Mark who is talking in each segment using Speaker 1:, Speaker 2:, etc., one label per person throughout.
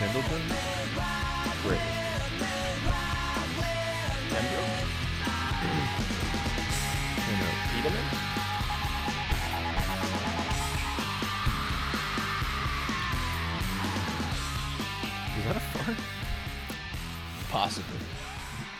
Speaker 1: Pendleton? Great.
Speaker 2: Possibly.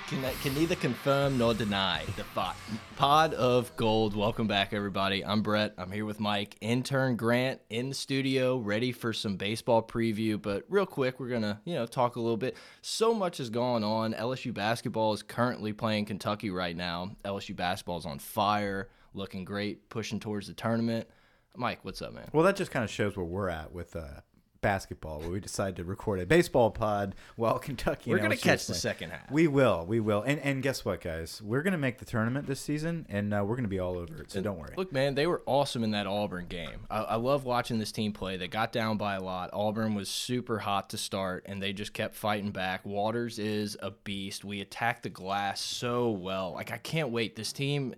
Speaker 2: Can, I, can neither confirm nor deny the thought. Pod of Gold, welcome back, everybody. I'm Brett. I'm here with Mike, intern Grant, in the studio, ready for some baseball preview. But real quick, we're gonna you know talk a little bit. So much is going on. LSU basketball is currently playing Kentucky right now. LSU basketball is on fire, looking great, pushing towards the tournament. Mike, what's up, man?
Speaker 3: Well, that just kind of shows where we're at with uh, basketball, where we decided to record a baseball pod while Kentucky.
Speaker 2: We're
Speaker 3: going
Speaker 2: gonna
Speaker 3: to
Speaker 2: catch the second half.
Speaker 3: We will, we will, and and guess what, guys? We're gonna make the tournament this season, and uh, we're gonna be all over it. So don't worry.
Speaker 2: Look, man, they were awesome in that Auburn game. I, I love watching this team play. They got down by a lot. Auburn was super hot to start, and they just kept fighting back. Waters is a beast. We attacked the glass so well. Like I can't wait. This team,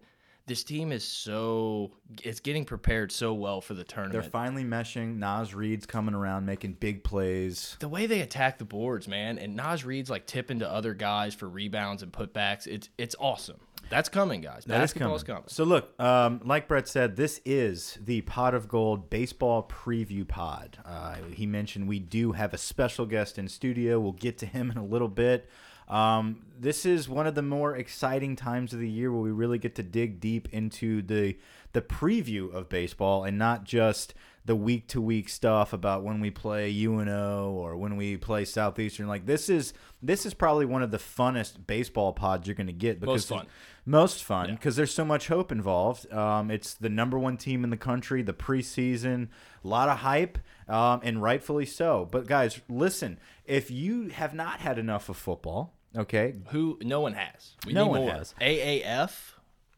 Speaker 2: this team is so it's getting prepared so well for the
Speaker 3: They're
Speaker 2: tournament.
Speaker 3: finally meshing. Nas Reed's coming around, making big plays.
Speaker 2: the way they attack the boards, man, and Nas Reed's like tipping to other guys for rebounds and putbacks. It's it's awesome. That's coming, guys.
Speaker 3: That is
Speaker 2: Basketball's coming.
Speaker 3: So look, um, like Brett said, this is the Pot of Gold Baseball Preview Pod. Uh, he mentioned we do have a special guest in studio. We'll get to him in a little bit. Um, this is one of the more exciting times of the year where we really get to dig deep into the the preview of baseball and not just the week to week stuff about when we play UNO or when we play Southeastern. Like this is this is probably one of the funnest baseball pods you're going to get because
Speaker 2: fun.
Speaker 3: there's- most fun because there's so much hope involved. Um, it's the number one team in the country, the preseason, a lot of hype, um, and rightfully so. But guys, listen, if you have not had enough of football, okay,
Speaker 2: Who? No one has. We
Speaker 3: No
Speaker 2: need
Speaker 3: one
Speaker 2: more.
Speaker 3: has.
Speaker 2: AAF.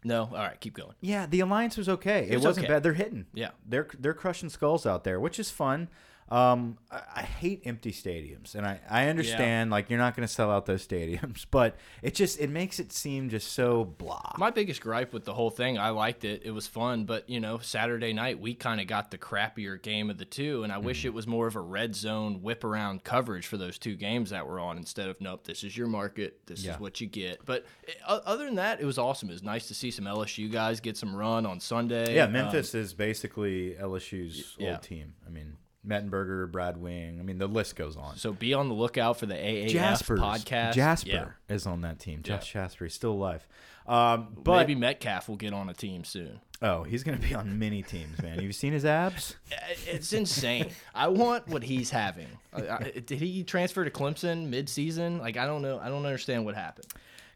Speaker 2: No. All right, keep going.
Speaker 3: yeah, the alliance was okay. It,
Speaker 2: was
Speaker 3: wasn't
Speaker 2: okay.
Speaker 3: bad. They're hitting.
Speaker 2: Yeah.
Speaker 3: they're they're crushing skulls out there, which is fun. Um, I, I hate empty stadiums, and I I understand like you're not going to sell out those stadiums, but it just it makes it seem just so blah.
Speaker 2: My biggest gripe with the whole thing, I liked it. It was fun, but you know, Saturday night we kind of got the crappier game of the two, and I
Speaker 3: Hmm.
Speaker 2: wish it was more of a red zone whip around coverage for those two games that were on instead of nope, this is your market, this
Speaker 3: Yeah.
Speaker 2: is what you get. But uh, other than that, it was awesome. It was nice to see some LSU guys get some run on Sunday.
Speaker 3: Yeah,
Speaker 2: Um,
Speaker 3: Memphis is basically LSU's
Speaker 2: yeah.
Speaker 3: old team. I mean, Mettenberger, Brad Wing. I mean, the list goes on.
Speaker 2: so be on the lookout for the AAF
Speaker 3: Jasper's-
Speaker 2: podcast.
Speaker 3: Jasper
Speaker 2: Yeah.
Speaker 3: is on that team. Josh Jasper, he's still alive. Um, but
Speaker 2: Maybe Metcalf will get on a team soon.
Speaker 3: oh, he's gonna be on many teams, man. You've seen his abs?
Speaker 2: It's insane. I want what he's having. I, I, did he transfer to Clemson mid-season? Like I don't know. I don't understand what happened.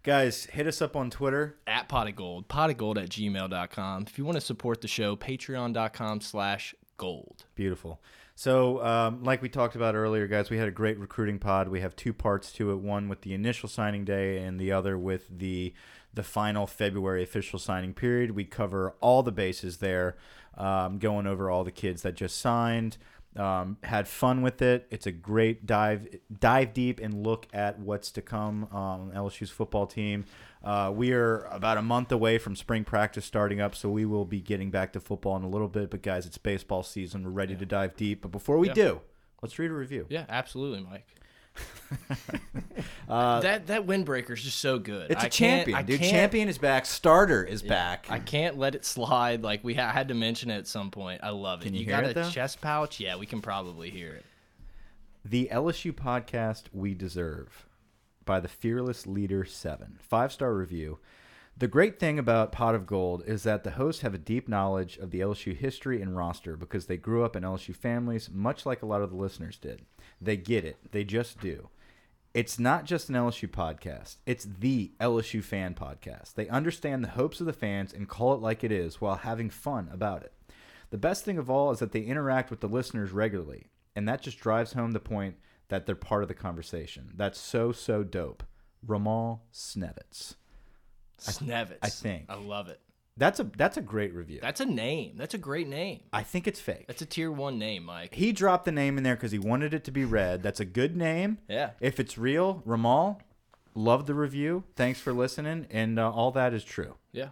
Speaker 3: Guys, hit us up on Twitter.
Speaker 2: At pot of gold, pot of gold at gmail.com. If you want to support the show, patreon.com slash gold.
Speaker 3: Beautiful. So, um, like we talked about earlier, guys, we had a great recruiting pod. We have two parts to it: one with the initial signing day, and the other with the the final February official signing period. We cover all the bases there, um, going over all the kids that just signed. Um, had fun with it. It's a great dive dive deep and look at what's to come um, on LSU's football team. Uh, we are about a month away from spring practice starting up, so we will be getting back to football in a little bit. But guys, it's baseball season. We're ready to dive deep. But before we do, let's read a review.
Speaker 2: Yeah, absolutely, Mike. that that windbreaker is just so good.
Speaker 3: Uh, It's
Speaker 2: a
Speaker 3: a champion, dude. Champion is back. Starter is back.
Speaker 2: I can't let it slide. Like we ha had to mention it at some point. I love it.
Speaker 3: Can you hear
Speaker 2: got
Speaker 3: it,
Speaker 2: a
Speaker 3: though?
Speaker 2: chest pouch? Yeah, we can probably hear it.
Speaker 3: The LSU podcast we deserve by the fearless leader 7. Five-star review. The great thing about Pot of Gold is that the hosts have a deep knowledge of the LSU history and roster because they grew up in LSU families much like a lot of the listeners did. They get it. They just do. It's not just an LSU podcast, it's the LSU fan podcast. They understand the hopes of the fans and call it like it is while having fun about it. The best thing of all is that they interact with the listeners regularly, and that just drives home the point that they're part of the conversation. That's so, so dope. Ramal Snevitz.
Speaker 2: Snevitz.
Speaker 3: I think.
Speaker 2: I love it.
Speaker 3: That's a that's a great review.
Speaker 2: That's a name. That's a great name.
Speaker 3: I think it's fake.
Speaker 2: That's a tier one name, Mike.
Speaker 3: he dropped the name in there because he wanted it to be read. That's a good name.
Speaker 2: Yeah.
Speaker 3: If it's real, Ramal, love the review. Thanks for listening, and uh, all that is true.
Speaker 2: Yeah.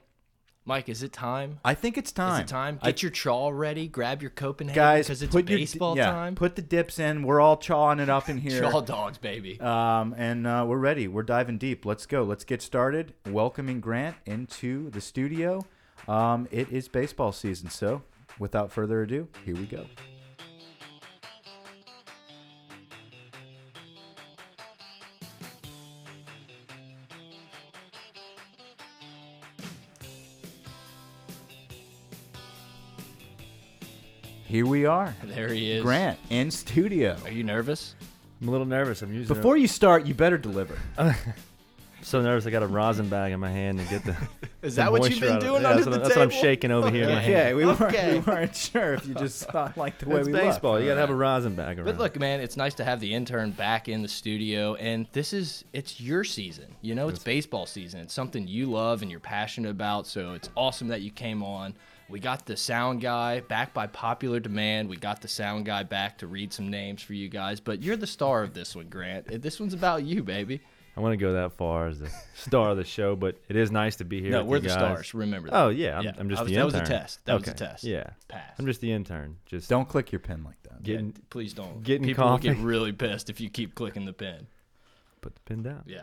Speaker 2: Mike, is it time?
Speaker 3: I think it's
Speaker 2: Is
Speaker 3: time.
Speaker 2: it time?
Speaker 3: I-
Speaker 2: Get your chaw ready. Grab your Copenhagen
Speaker 3: guys,
Speaker 2: because it's
Speaker 3: put your-
Speaker 2: baseball
Speaker 3: yeah,
Speaker 2: time.
Speaker 3: Put the dips in. We're all chawing it up in here.
Speaker 2: chaw dogs, baby.
Speaker 3: Um, and uh, we're ready. We're diving deep. Let's go. Let's get started. Welcoming Grant into the studio. Um, it is baseball season, so without further ado, here we go. Here we are.
Speaker 2: there he is.
Speaker 3: Grant in studio.
Speaker 2: Are you nervous?
Speaker 4: I'm a little nervous. I'm using
Speaker 3: Before you start, you better deliver.
Speaker 4: I'm so nervous. I got a rosin bag in my hand to get the.
Speaker 2: Is
Speaker 4: the
Speaker 2: that what you've
Speaker 4: moisture
Speaker 2: been
Speaker 4: out of-
Speaker 2: doing
Speaker 4: yeah,
Speaker 2: under
Speaker 4: that's, what-
Speaker 2: the
Speaker 4: that's
Speaker 2: table?
Speaker 4: what I'm shaking over here. In my hand.
Speaker 3: Okay, we weren't,
Speaker 2: Okay.
Speaker 3: we weren't sure if you just thought like the way
Speaker 4: It's
Speaker 3: we
Speaker 4: baseball.
Speaker 3: looked.
Speaker 4: You gotta have a rosin bag around.
Speaker 2: But look, man, it's nice to have the intern back in the studio, and this is—it's your season. You know, it's baseball season. It's something you love and you're passionate about. So it's awesome that you came on. We got the sound guy back by popular demand. We got the sound guy back to read some names for you guys. But you're the star of this one, Grant. This one's about you, baby.
Speaker 4: I want to go that far as the star of the show, but it is nice to be here.
Speaker 2: No,
Speaker 4: with
Speaker 2: we're
Speaker 4: you
Speaker 2: the
Speaker 4: guys.
Speaker 2: stars. Remember that.
Speaker 4: Oh yeah, I'm,
Speaker 2: Yeah,
Speaker 4: I'm just
Speaker 2: I was-
Speaker 4: the
Speaker 2: that
Speaker 4: intern.
Speaker 2: was a test. That was a
Speaker 4: Okay,
Speaker 2: test.
Speaker 4: Yeah,
Speaker 2: Pass.
Speaker 4: I'm just the intern. Just
Speaker 3: Don't click your pen like that.
Speaker 2: Yeah,
Speaker 4: getting
Speaker 2: please don't.
Speaker 4: getting
Speaker 2: People will get
Speaker 4: coffee.
Speaker 2: really pissed if you keep clicking the pin.
Speaker 4: put the pin down.
Speaker 2: Yeah.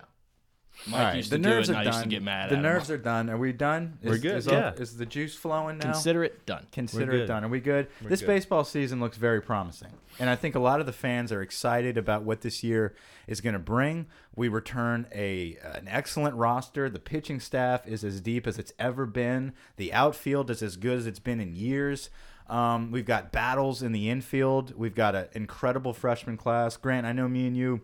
Speaker 3: All
Speaker 2: Mike
Speaker 3: right,
Speaker 2: used
Speaker 3: the
Speaker 2: to do
Speaker 3: nerves
Speaker 2: it, and
Speaker 3: are
Speaker 2: I
Speaker 3: done.
Speaker 2: used to get mad
Speaker 3: the
Speaker 2: at
Speaker 3: nerves
Speaker 2: him.
Speaker 3: are done. Are we done?
Speaker 4: We're good,
Speaker 3: Is,
Speaker 4: yeah.
Speaker 3: is the juice flowing now?
Speaker 2: Consider it done.
Speaker 3: Consider
Speaker 4: We're
Speaker 3: it
Speaker 4: good.
Speaker 3: done. Are we good? this
Speaker 4: good.
Speaker 3: baseball season looks very promising, and I think a lot of the fans are excited about what this year is going to bring. We return a uh, an excellent roster. The pitching staff is as deep as it's ever been. The outfield is as good as it's been in years. Um, we've got battles in the infield. We've got an incredible freshman class. Grant, I know me and you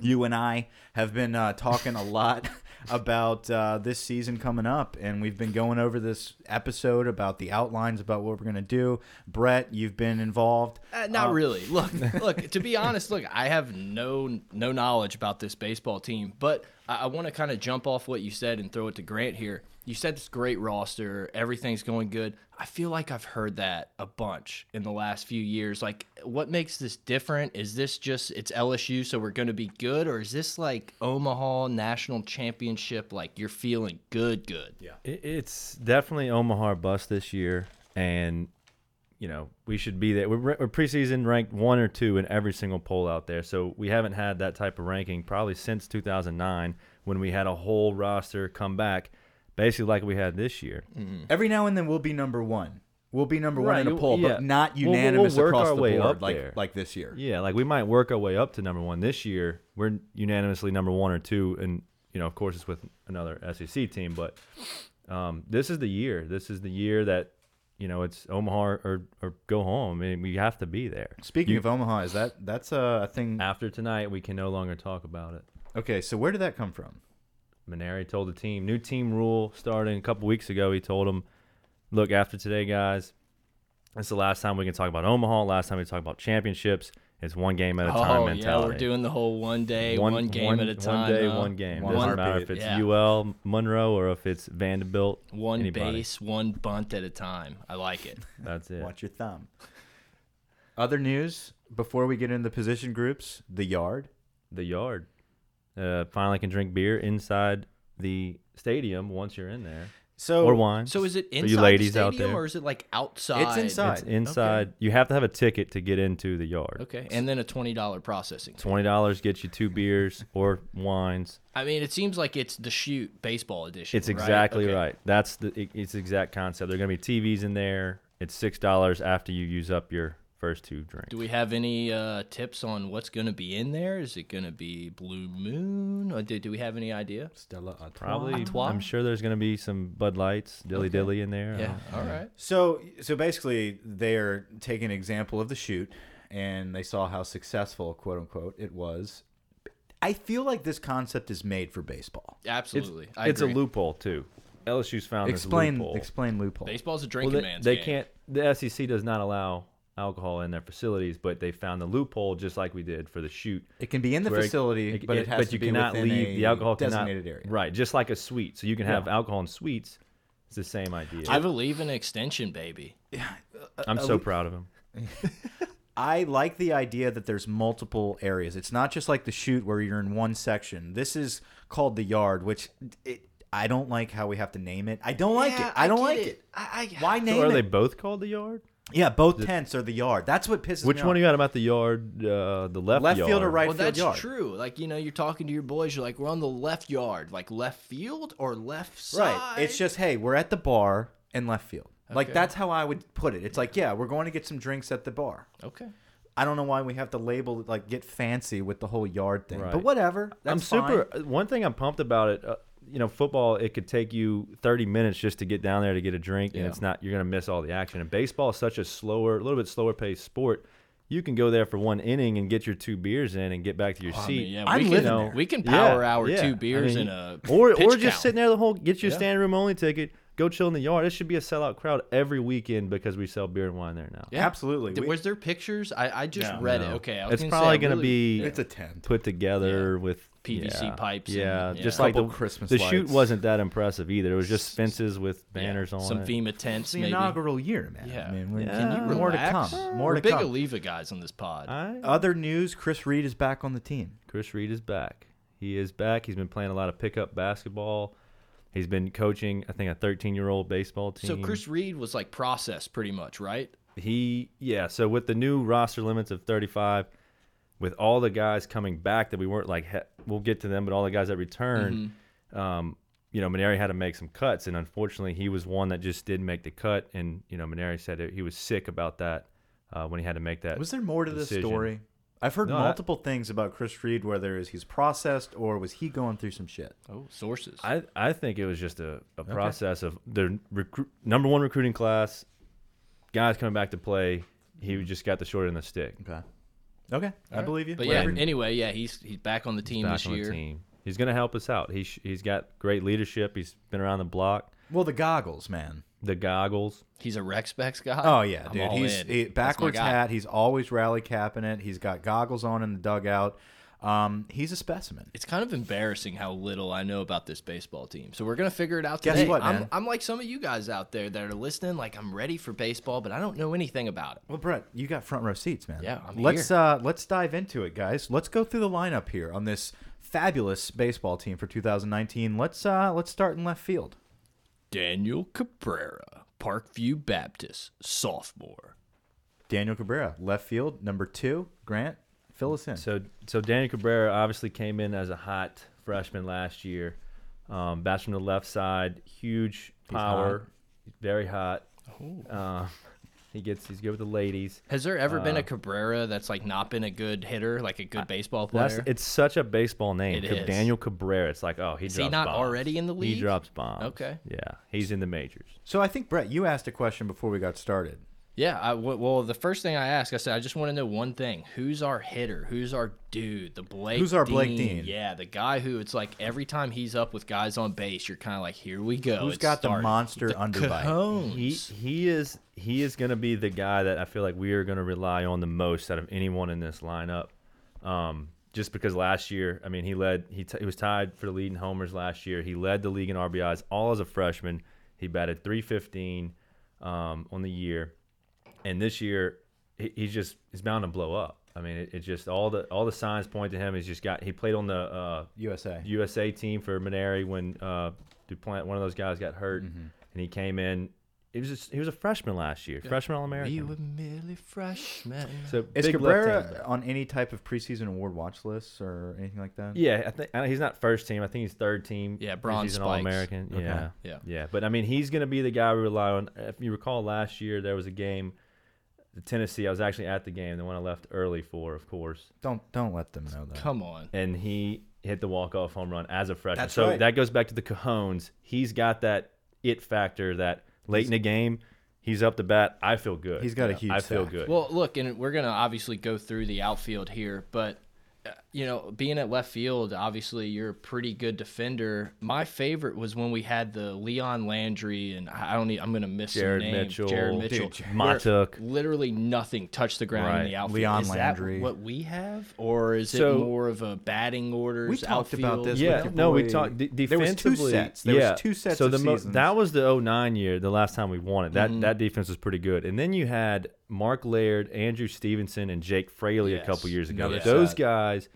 Speaker 3: you and I have been uh, talking a lot about uh, this season coming up, and we've been going over this episode about the outlines about what we're going to do. Brett, you've been involved.
Speaker 2: Uh, not really. Look, look. To be honest, look, I have no no knowledge about this baseball team, but I, I want to kind of jump off what you said and throw it to Grant here. You said this great roster, everything's going good. I feel like I've heard that a bunch in the last few years. Like, what makes this different? Is this just it's LSU, so we're going to be good, or is this like Omaha National Championship? Like you're feeling good, good. Yeah.
Speaker 4: It, it's definitely Omaha bus this year, and you know we should be there. We're, we're preseason ranked one or two in every single poll out there, so we haven't had that type of ranking probably since 2009 when we had a whole roster come back, basically like we had this year.
Speaker 3: Um, Every now and then, we'll be number one. We'll be number
Speaker 4: Right,
Speaker 3: one in a
Speaker 4: you-
Speaker 3: poll,
Speaker 4: yeah.
Speaker 3: but not
Speaker 4: We'll- we'll- we'll
Speaker 3: unanimous
Speaker 4: work
Speaker 3: across
Speaker 4: our
Speaker 3: the
Speaker 4: way
Speaker 3: board
Speaker 4: up
Speaker 3: like
Speaker 4: there.
Speaker 3: like this year.
Speaker 4: Yeah, like we might work our way up to number one this year. We're unanimously number one or two, and you know, of course, it's with another SEC team. But um, this is the year. This is the year that you know it's Omaha or or go home. I mean, we have to be there.
Speaker 3: Speaking of Omaha, is that that's a thing?
Speaker 4: After tonight, we can no longer talk about it.
Speaker 3: Okay, so where did that come from?
Speaker 4: Maneri told the team new team rule starting a couple weeks ago. He told them, "Look, after today, guys, it's the last time we can talk about Omaha. Last time we talk about championships. It's one game at a time
Speaker 2: Oh yeah,
Speaker 4: mentality."
Speaker 2: we're doing the whole one day, one, game at a time. uh,
Speaker 4: One day,
Speaker 2: huh?
Speaker 4: one game.
Speaker 3: One
Speaker 4: Doesn't
Speaker 3: heartbeat.
Speaker 4: matter if it's
Speaker 2: Yeah.
Speaker 4: UL Monroe or if it's Vanderbilt.
Speaker 2: One
Speaker 4: anybody.
Speaker 2: base, one bunt at a time. I like it.
Speaker 4: That's it.
Speaker 3: Watch your thumb. Other news before we get into the position groups: the yard.
Speaker 4: The yard. Uh, finally, can drink beer inside the stadium once you're in there,
Speaker 3: So
Speaker 4: or wine.
Speaker 2: Oh, So is it
Speaker 4: For you
Speaker 2: inside
Speaker 4: ladies
Speaker 2: the
Speaker 4: out
Speaker 2: stadium
Speaker 4: there.
Speaker 2: or is it like outside?
Speaker 3: It's inside.
Speaker 4: It's inside. You have to have a ticket to get into the yard.
Speaker 2: Okay, and then a twenty dollar processing. fee.
Speaker 4: Twenty dollars gets you two beers or wines.
Speaker 2: I mean, it seems like it's the shoot baseball edition.
Speaker 4: It's
Speaker 2: right?
Speaker 4: exactly
Speaker 2: Okay.
Speaker 4: right. That's the it- it's the exact concept. There are gonna be TVs in there. It's six dollars after you use up your first two drinks.
Speaker 2: Do we have any uh, tips on what's going to be in there? Is it going to be Blue Moon? Or do, do we have any idea?
Speaker 3: Stella Artois.
Speaker 4: Probably.
Speaker 2: Artois?
Speaker 4: I'm sure there's gonna be some Bud Lights, Dilly Dilly in there.
Speaker 2: Yeah.
Speaker 4: Uh,
Speaker 2: All right.
Speaker 3: So, so basically, they're taking an example of the shoot, and they saw how successful, quote unquote, it was. I feel like this concept is made for baseball.
Speaker 4: It's,
Speaker 2: Absolutely, I
Speaker 4: it's a
Speaker 2: agree.
Speaker 4: loophole too. LSU's found
Speaker 3: explain
Speaker 4: this loophole.
Speaker 3: explain loophole.
Speaker 2: Baseball's a
Speaker 4: Well,
Speaker 2: drinking
Speaker 4: they,
Speaker 2: man's
Speaker 4: they
Speaker 2: game.
Speaker 4: can't. The SEC does not allow alcohol in their facilities, but they found the loophole just like we did for the shoot.
Speaker 3: It can be in the
Speaker 4: where
Speaker 3: facility,
Speaker 4: it-
Speaker 3: but it,
Speaker 4: it-
Speaker 3: has to
Speaker 4: you
Speaker 3: be
Speaker 4: cannot
Speaker 3: within
Speaker 4: leave
Speaker 3: a
Speaker 4: the alcohol cannot-
Speaker 3: designated area.
Speaker 4: Right, just like a suite. So you can have alcohol in suites. It's the same idea.
Speaker 2: I believe in extension, baby.
Speaker 4: I'm so proud of him.
Speaker 3: I like the idea that there's multiple areas. It's not just like the shoot where you're in one section. This is called the yard, which it, I don't like how we have to name it. I don't like it. I don't like it.
Speaker 2: I, I,
Speaker 3: Why name
Speaker 4: So are
Speaker 3: it?
Speaker 4: they both called the yard?
Speaker 3: Yeah, both tents are the yard. That's what pisses me
Speaker 4: Which
Speaker 3: off.
Speaker 4: one are you got about the yard? Uh, the left,
Speaker 3: Left
Speaker 4: yard.
Speaker 3: field or right
Speaker 2: Well,
Speaker 3: field
Speaker 2: that's
Speaker 3: yard?
Speaker 2: true. Like you know, you're talking to your boys. You're like, we're on the left yard, like left field or left side.
Speaker 3: Right. It's just hey, we're at the bar in left field. Like
Speaker 2: Okay.
Speaker 3: that's how I would put it. It's like yeah, we're going to get some drinks at the bar.
Speaker 2: okay.
Speaker 3: I don't know why we have to label it like get fancy with the whole yard thing, but
Speaker 4: Right.
Speaker 3: whatever.
Speaker 4: I'm
Speaker 3: That's fine.
Speaker 4: super. uh, One thing I'm pumped about it, uh, you know, football. It could take you 30 minutes just to get down there to get a drink, and it's not. You're gonna miss all the action. And baseball is such a slower, a little bit slower paced sport. You can go there for one inning and get your two beers in and get back to your
Speaker 2: Oh, I
Speaker 4: seat.
Speaker 2: mean, yeah,
Speaker 3: I'm
Speaker 2: we can
Speaker 3: living there.
Speaker 2: we can
Speaker 4: Yeah,
Speaker 2: power our
Speaker 4: yeah.
Speaker 2: two beers
Speaker 4: I mean,
Speaker 2: in a
Speaker 4: or
Speaker 2: pitch
Speaker 4: or just
Speaker 2: count.
Speaker 4: sitting there the whole. Get your standing room only ticket. Go chill in the yard. It should be a sellout crowd every weekend because we sell beer and wine there now.
Speaker 2: Yeah.
Speaker 3: Absolutely.
Speaker 2: Did-
Speaker 3: We-
Speaker 2: was there pictures? I, I just
Speaker 3: No.
Speaker 2: read it. Okay, I was
Speaker 4: it's
Speaker 2: gonna
Speaker 4: probably
Speaker 2: say, I
Speaker 4: going to
Speaker 2: really-
Speaker 4: be
Speaker 3: It's a tent.
Speaker 4: put together with
Speaker 2: PVC
Speaker 4: yeah,
Speaker 2: pipes and-
Speaker 4: Yeah,
Speaker 2: yeah.
Speaker 4: just like the
Speaker 3: Couple Christmas
Speaker 4: The shoot
Speaker 3: lights.
Speaker 4: wasn't that impressive either. It was just fences with
Speaker 2: yeah,
Speaker 4: banners on
Speaker 2: some
Speaker 4: it.
Speaker 2: FEMA tents.
Speaker 3: the
Speaker 2: maybe.
Speaker 3: inaugural year, man.
Speaker 2: Yeah.
Speaker 3: I mean, we're-
Speaker 4: Can you
Speaker 3: more to
Speaker 2: Relax.
Speaker 3: come. More
Speaker 2: We're
Speaker 3: to
Speaker 2: big
Speaker 3: come.
Speaker 2: Oliva guys on this pod.
Speaker 4: I-
Speaker 3: Other news: Chris Reed is back on the team.
Speaker 4: Chris Reed is back. He is back. He's been playing a lot of pickup basketball. He's been coaching, I think, a 13 year old baseball team.
Speaker 2: so Chris Reed was like processed pretty much, right?
Speaker 4: he yeah so with the new roster limits of 35 with all the guys coming back that we weren't like he- we'll get to them but all the guys that returned um, you know Maneri had to make some cuts and unfortunately he was one that just did make the cut and you know Maneri said it, he was sick about that uh, when he had to make that
Speaker 3: Was there more to this
Speaker 4: decision.
Speaker 3: story? I've heard
Speaker 4: No, I-
Speaker 3: multiple things about Chris Reed, whether is he's processed or was he going through some shit.
Speaker 2: Oh, sources.
Speaker 4: I, I think it was just a, a process of their recruit number one recruiting class guys coming back to play he just got the short end of the stick
Speaker 3: Okay. Okay, I believe you.
Speaker 2: but yeah,
Speaker 3: Whatever.
Speaker 2: anyway, yeah, he's he's back on the team
Speaker 4: back
Speaker 2: this
Speaker 4: on the
Speaker 2: year.
Speaker 4: team he's going to help us out he's, he's got great leadership he's been around the block
Speaker 3: Well, the goggles, man.
Speaker 4: the goggles.
Speaker 2: He's a Rex Specs guy.
Speaker 3: Oh yeah,
Speaker 2: I'm
Speaker 3: dude.
Speaker 2: all
Speaker 3: He's
Speaker 2: in.
Speaker 3: he,
Speaker 2: That's my
Speaker 3: backwards
Speaker 2: guy.
Speaker 3: hat. He's always rally capping it. He's got goggles on in the dugout. Um, he's a specimen.
Speaker 2: It's kind of embarrassing how little I know about this baseball team. So we're gonna figure it out
Speaker 3: Guess
Speaker 2: today.
Speaker 3: what,
Speaker 2: I'm,
Speaker 3: man?
Speaker 2: I'm like some of you guys out there that are listening. Like I'm ready for baseball, but I don't know anything about it.
Speaker 3: Well, Brett, you got front row seats, man.
Speaker 2: Yeah, I'm
Speaker 3: let's
Speaker 2: here.
Speaker 3: uh let's dive into it, guys. Let's go through the lineup here on this fabulous baseball team for 2019. Let's uh let's start in left field.
Speaker 2: Daniel Cabrera, Parkview Baptist, sophomore.
Speaker 3: Daniel Cabrera, left field, number two. Grant, fill us in.
Speaker 4: So so Danny Cabrera obviously came in as a hot freshman last year. Um, bats from the left side, huge power, very hot. Um, he gets he's good with the ladies.
Speaker 2: Has there ever been a
Speaker 3: Uh.
Speaker 2: Cabrera that's like not been a good hitter, like a good baseball player?
Speaker 4: That's, it's such a baseball name,
Speaker 2: It
Speaker 4: Ca-
Speaker 2: is.
Speaker 4: Daniel Cabrera. It's like oh he
Speaker 2: Is he
Speaker 4: drops
Speaker 2: not
Speaker 4: bombs.
Speaker 2: already in the league?
Speaker 4: He drops bombs.
Speaker 2: Okay.
Speaker 4: Yeah, he's in the majors.
Speaker 3: So I think Brett, you asked a question before we got started.
Speaker 2: yeah. I, w- well, the first thing I asked, I said, I just want to know one thing: who's our hitter? Who's our dude? The Blake.
Speaker 3: Who's our Blake Dean?
Speaker 2: Yeah, the guy who it's like every time he's up with guys on base, you're kind of like, here we go.
Speaker 3: Who's
Speaker 2: it's
Speaker 3: got the
Speaker 2: starting."
Speaker 3: monster
Speaker 2: The
Speaker 3: underbite?
Speaker 2: Cajones.
Speaker 4: He he is he is going to be the guy that I feel like we are going to rely on the most out of anyone in this lineup. Um, just because last year, I mean, he led he, t- he was tied for the lead in homers last year. He led the league in RBIs all as a freshman. He batted 315 um, on the year, and this year he, he's just he's bound to blow up. I mean, it, it just all the all the signs point to him. He's just got he played on the uh,
Speaker 3: USA.
Speaker 4: USA team for Maneri when uh, Duplant, one of those guys, got hurt,
Speaker 2: Mm-hmm.
Speaker 4: and he came in. He was just, he was a freshman last year, freshman All
Speaker 2: We
Speaker 4: American.
Speaker 2: were merely freshmen.
Speaker 4: So
Speaker 3: Is
Speaker 4: big left-hander.
Speaker 3: Cabrera on any type of preseason award watch lists or anything like that?
Speaker 4: Yeah, I think I don't- he's not first team. I think he's third team.
Speaker 2: Yeah,
Speaker 4: because
Speaker 2: bronze
Speaker 4: He's an
Speaker 2: spikes.
Speaker 4: All American. Yeah,
Speaker 2: Yeah.
Speaker 4: yeah. But I mean, he's going to be the guy we rely on. If you recall, last year there was a game, the Tennessee. I was actually at the game, the one I left early for, of course.
Speaker 3: Don't don't let them know that.
Speaker 2: Come on.
Speaker 4: and he hit the walk off home run as a freshman.
Speaker 3: That's
Speaker 4: so
Speaker 3: right.
Speaker 4: that goes back to the Cajones. He's got that it factor that late in the game, he's up to bat. I feel good.
Speaker 3: He's got a huge
Speaker 4: I feel
Speaker 3: sack.
Speaker 4: good.
Speaker 2: Well, look, and we're going to obviously go through the outfield here, but uh, you know, being at left field, obviously you're a pretty good defender. My favorite was when we had the Leon Landry and I I don't need, I'm going to miss
Speaker 4: Jared
Speaker 2: some name,
Speaker 4: Mitchell.
Speaker 2: Jared
Speaker 4: Dude,
Speaker 2: Mitchell,
Speaker 4: Jared-
Speaker 2: where
Speaker 4: Matuk.
Speaker 2: Literally nothing touched the ground in
Speaker 4: Right.
Speaker 2: the outfield.
Speaker 3: Leon
Speaker 2: is
Speaker 3: Landry.
Speaker 2: that what we have, or is
Speaker 4: So-
Speaker 2: it more of a batting orders?
Speaker 3: We talked
Speaker 2: outfield?
Speaker 3: about this.
Speaker 4: Yeah,
Speaker 3: with your
Speaker 4: no, we
Speaker 3: boy-
Speaker 4: talked de-
Speaker 3: There was two
Speaker 4: defensively.
Speaker 3: sets. There was
Speaker 4: yeah.
Speaker 3: two sets
Speaker 4: So
Speaker 3: of
Speaker 4: the mo-
Speaker 3: seasons.
Speaker 4: that was the 09 year, the last time we won it. That
Speaker 2: Mm-hmm.
Speaker 4: that defense was pretty good. And then you had Mark Laird, Andrew Stevenson, and Jake Fraley a couple
Speaker 2: Yes.
Speaker 4: years ago.
Speaker 2: Another
Speaker 4: Those
Speaker 2: set.
Speaker 4: guys,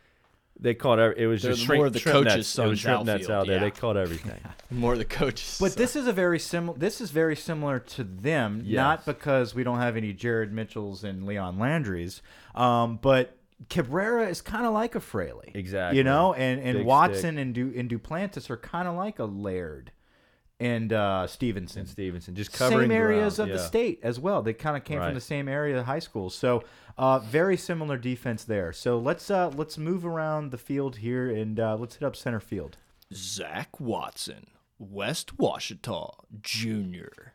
Speaker 4: they caught. Every, it was
Speaker 2: They're
Speaker 4: just
Speaker 2: more
Speaker 4: shrink,
Speaker 2: of the
Speaker 4: shrimp
Speaker 2: coach's
Speaker 4: nets. It was
Speaker 2: sons
Speaker 4: shrimp nets
Speaker 2: outfield,
Speaker 4: out there.
Speaker 2: yeah.
Speaker 4: They caught everything.
Speaker 2: More the coaches.
Speaker 3: But this is a very similar. This is very similar to them,
Speaker 4: Yes.
Speaker 3: not because we don't have any Jared Mitchells and Leon Landry's, um, but Cabrera is kind of like a Fraley,
Speaker 4: Exactly.
Speaker 3: You know, and and
Speaker 4: Big
Speaker 3: Watson and Du and Duplantis are kind of like a Laird and uh, Stevenson.
Speaker 4: and Stevenson just
Speaker 3: Same
Speaker 4: covering
Speaker 3: areas
Speaker 4: ground,
Speaker 3: of the
Speaker 4: yeah.
Speaker 3: state as well. They kind of came from
Speaker 4: Right.
Speaker 3: the same area of high school, so uh, very similar defense there. So let's uh, let's move around the field here and uh, let's hit up center field.
Speaker 2: Zach Watson, West Washita Junior.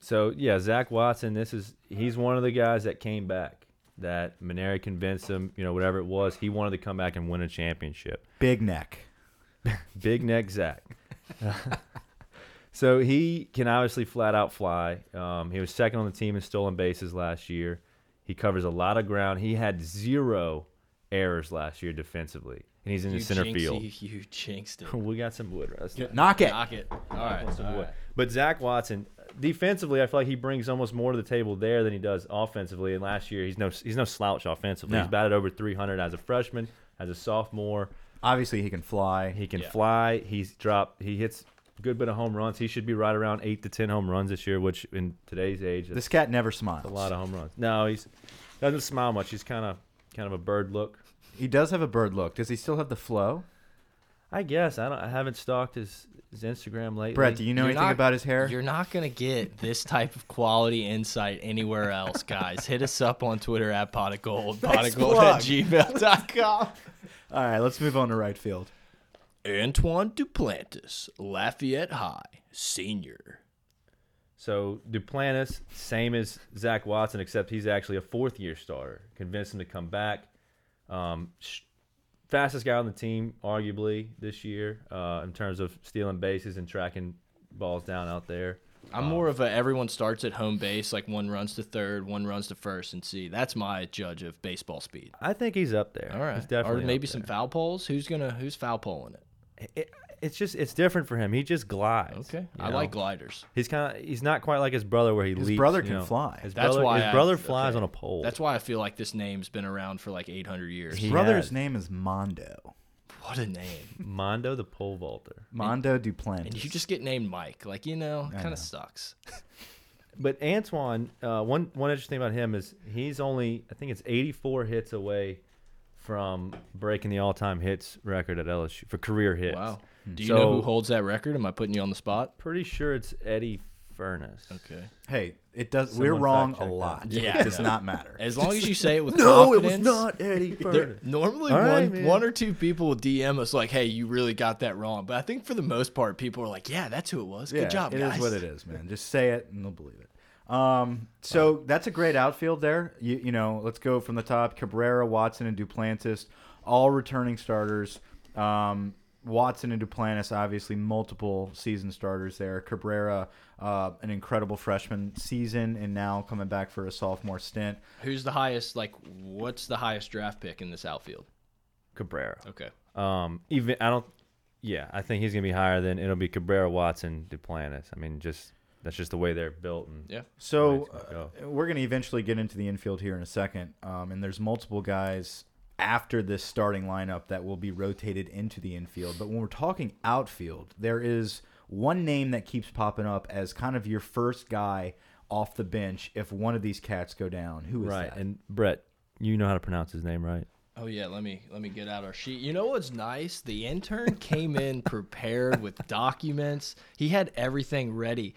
Speaker 4: So yeah, Zach Watson. This is he's one of the guys that came back. That Maneri convinced him, you know, whatever it was, he wanted to come back and win a championship.
Speaker 3: Big neck.
Speaker 4: Big neck Zach. so he can obviously flat out fly. Um, he was second on the team in stolen bases last year. He covers a lot of ground. He had zero errors last year defensively, and he's in the center field.
Speaker 2: You, you jinxed it.
Speaker 4: We got some wood. That's not-
Speaker 3: Knock it.
Speaker 2: Knock it. All right.
Speaker 4: some
Speaker 2: all
Speaker 4: wood.
Speaker 2: right.
Speaker 4: But Zach Watson, defensively, I feel like he brings almost more to the table there than he does offensively. And last year, he's no he's no slouch offensively.
Speaker 3: No.
Speaker 4: He's batted over 300 as a freshman, as a sophomore.
Speaker 3: Obviously, he can fly.
Speaker 4: He can
Speaker 2: Yeah.
Speaker 4: fly. He's dropped. He hits a good bit of home runs. He should be right around eight to ten home runs this year, which in today's age, that's
Speaker 3: This cat never smiles.
Speaker 4: a lot of home runs. No, he's doesn't smile much. He's kind of kind of a bird look.
Speaker 3: He does have a bird look. Does he still have the flow?
Speaker 4: I guess I don't. I haven't stalked his, his Instagram lately.
Speaker 3: Brett, do you know
Speaker 2: You're
Speaker 3: anything
Speaker 2: not-
Speaker 3: about his hair?
Speaker 2: You're not gonna get this type of quality insight anywhere else, goys. Hit us up on Twitter at pot of gold, pot of gold at
Speaker 3: plug.
Speaker 2: gmail.com.
Speaker 3: All right, let's move on to right field.
Speaker 2: Antoine Duplantis, Lafayette High, senior.
Speaker 4: So Duplantis, same as Zach Watson, except he's actually a fourth year starter. Convinced him to come back. Um, sh- fastest guy on the team, arguably this year, uh, in terms of stealing bases and tracking balls down out there.
Speaker 2: I'm more of a everyone starts at home base, like one runs to third, one runs to first, and see. That's my judge of baseball speed.
Speaker 4: I think he's up there.
Speaker 2: All right,
Speaker 4: he's definitely.
Speaker 2: or maybe
Speaker 4: up
Speaker 2: some
Speaker 4: there.
Speaker 2: foul poles. Who's gonna who's foul poling it?
Speaker 4: It, it's just it's different for him. He just glides.
Speaker 2: Okay,
Speaker 4: you
Speaker 2: I
Speaker 4: know?
Speaker 2: like gliders.
Speaker 4: He's kind of he's not quite like his brother where he
Speaker 3: His
Speaker 4: leaps,
Speaker 3: brother
Speaker 4: you
Speaker 3: can
Speaker 4: know.
Speaker 3: fly.
Speaker 4: His
Speaker 2: That's
Speaker 4: brother,
Speaker 2: why
Speaker 4: his
Speaker 2: I-
Speaker 4: brother flies
Speaker 2: okay.
Speaker 4: on a pole.
Speaker 2: That's why I feel like this name's been around for like 800 years.
Speaker 4: He
Speaker 3: Brother's
Speaker 4: has.
Speaker 3: name is Mondo.
Speaker 2: What a name!
Speaker 4: Mondo the pole vaulter.
Speaker 3: Mondo Duplantis.
Speaker 2: And you just get named Mike. Like you know, kind of sucks.
Speaker 4: But Antoine, uh, one one interesting thing about him is he's only I think it's 84 hits away from breaking the all-time hits record at LSU for career hits.
Speaker 2: Wow. Do you know who
Speaker 4: Hmm. So-
Speaker 2: holds that record? Am I putting you on the spot?
Speaker 4: Pretty sure it's Eddie Furness.
Speaker 2: Okay.
Speaker 3: hey, it does.
Speaker 4: Someone
Speaker 3: we're wrong
Speaker 4: fact
Speaker 3: a
Speaker 4: check that.
Speaker 3: lot.
Speaker 2: Yeah,
Speaker 3: it does
Speaker 2: no.
Speaker 3: not matter.
Speaker 2: As long as you say it with
Speaker 4: No, it
Speaker 2: confidence.
Speaker 4: was not Eddie Furness.
Speaker 2: There, normally,
Speaker 4: All right,
Speaker 2: one,
Speaker 4: man.
Speaker 2: one or two people will DM us like, "Hey, you really got that wrong." But I think for the most part, people are like, "Yeah, that's who it was. Good
Speaker 3: Yeah,
Speaker 2: job,
Speaker 3: It
Speaker 2: guys."
Speaker 3: is what it is, man. Just say it and they'll believe it. Um, so that's a great outfield there. You, you know, let's go from the top: Cabrera, Watson, and Duplantis, all returning starters. Um, Watson and Duplantis, obviously, multiple season starters there. Cabrera, uh, an incredible freshman season, and now coming back for a sophomore stint.
Speaker 2: Who's the highest? Like, what's the highest draft pick in this outfield?
Speaker 4: Cabrera.
Speaker 2: Okay.
Speaker 4: Um, even I don't. Yeah, I think he's gonna be higher than it'll be Cabrera, Watson, Duplantis. I mean, just that's just the way they're built. And
Speaker 2: Yeah.
Speaker 3: So
Speaker 4: Nice. Go.
Speaker 3: uh, we're going to eventually get into the infield here in a second, um, and there's multiple guys after this starting lineup that will be rotated into the infield. But when we're talking outfield, there is one name that keeps popping up as kind of your first guy off the bench if one of these cats go down. Who is
Speaker 4: right.
Speaker 3: that?
Speaker 4: And Brett, you know how to pronounce his name, right?
Speaker 2: Oh yeah, let me let me get out our sheet. You know what's nice? The intern came in prepared with documents. He had everything ready.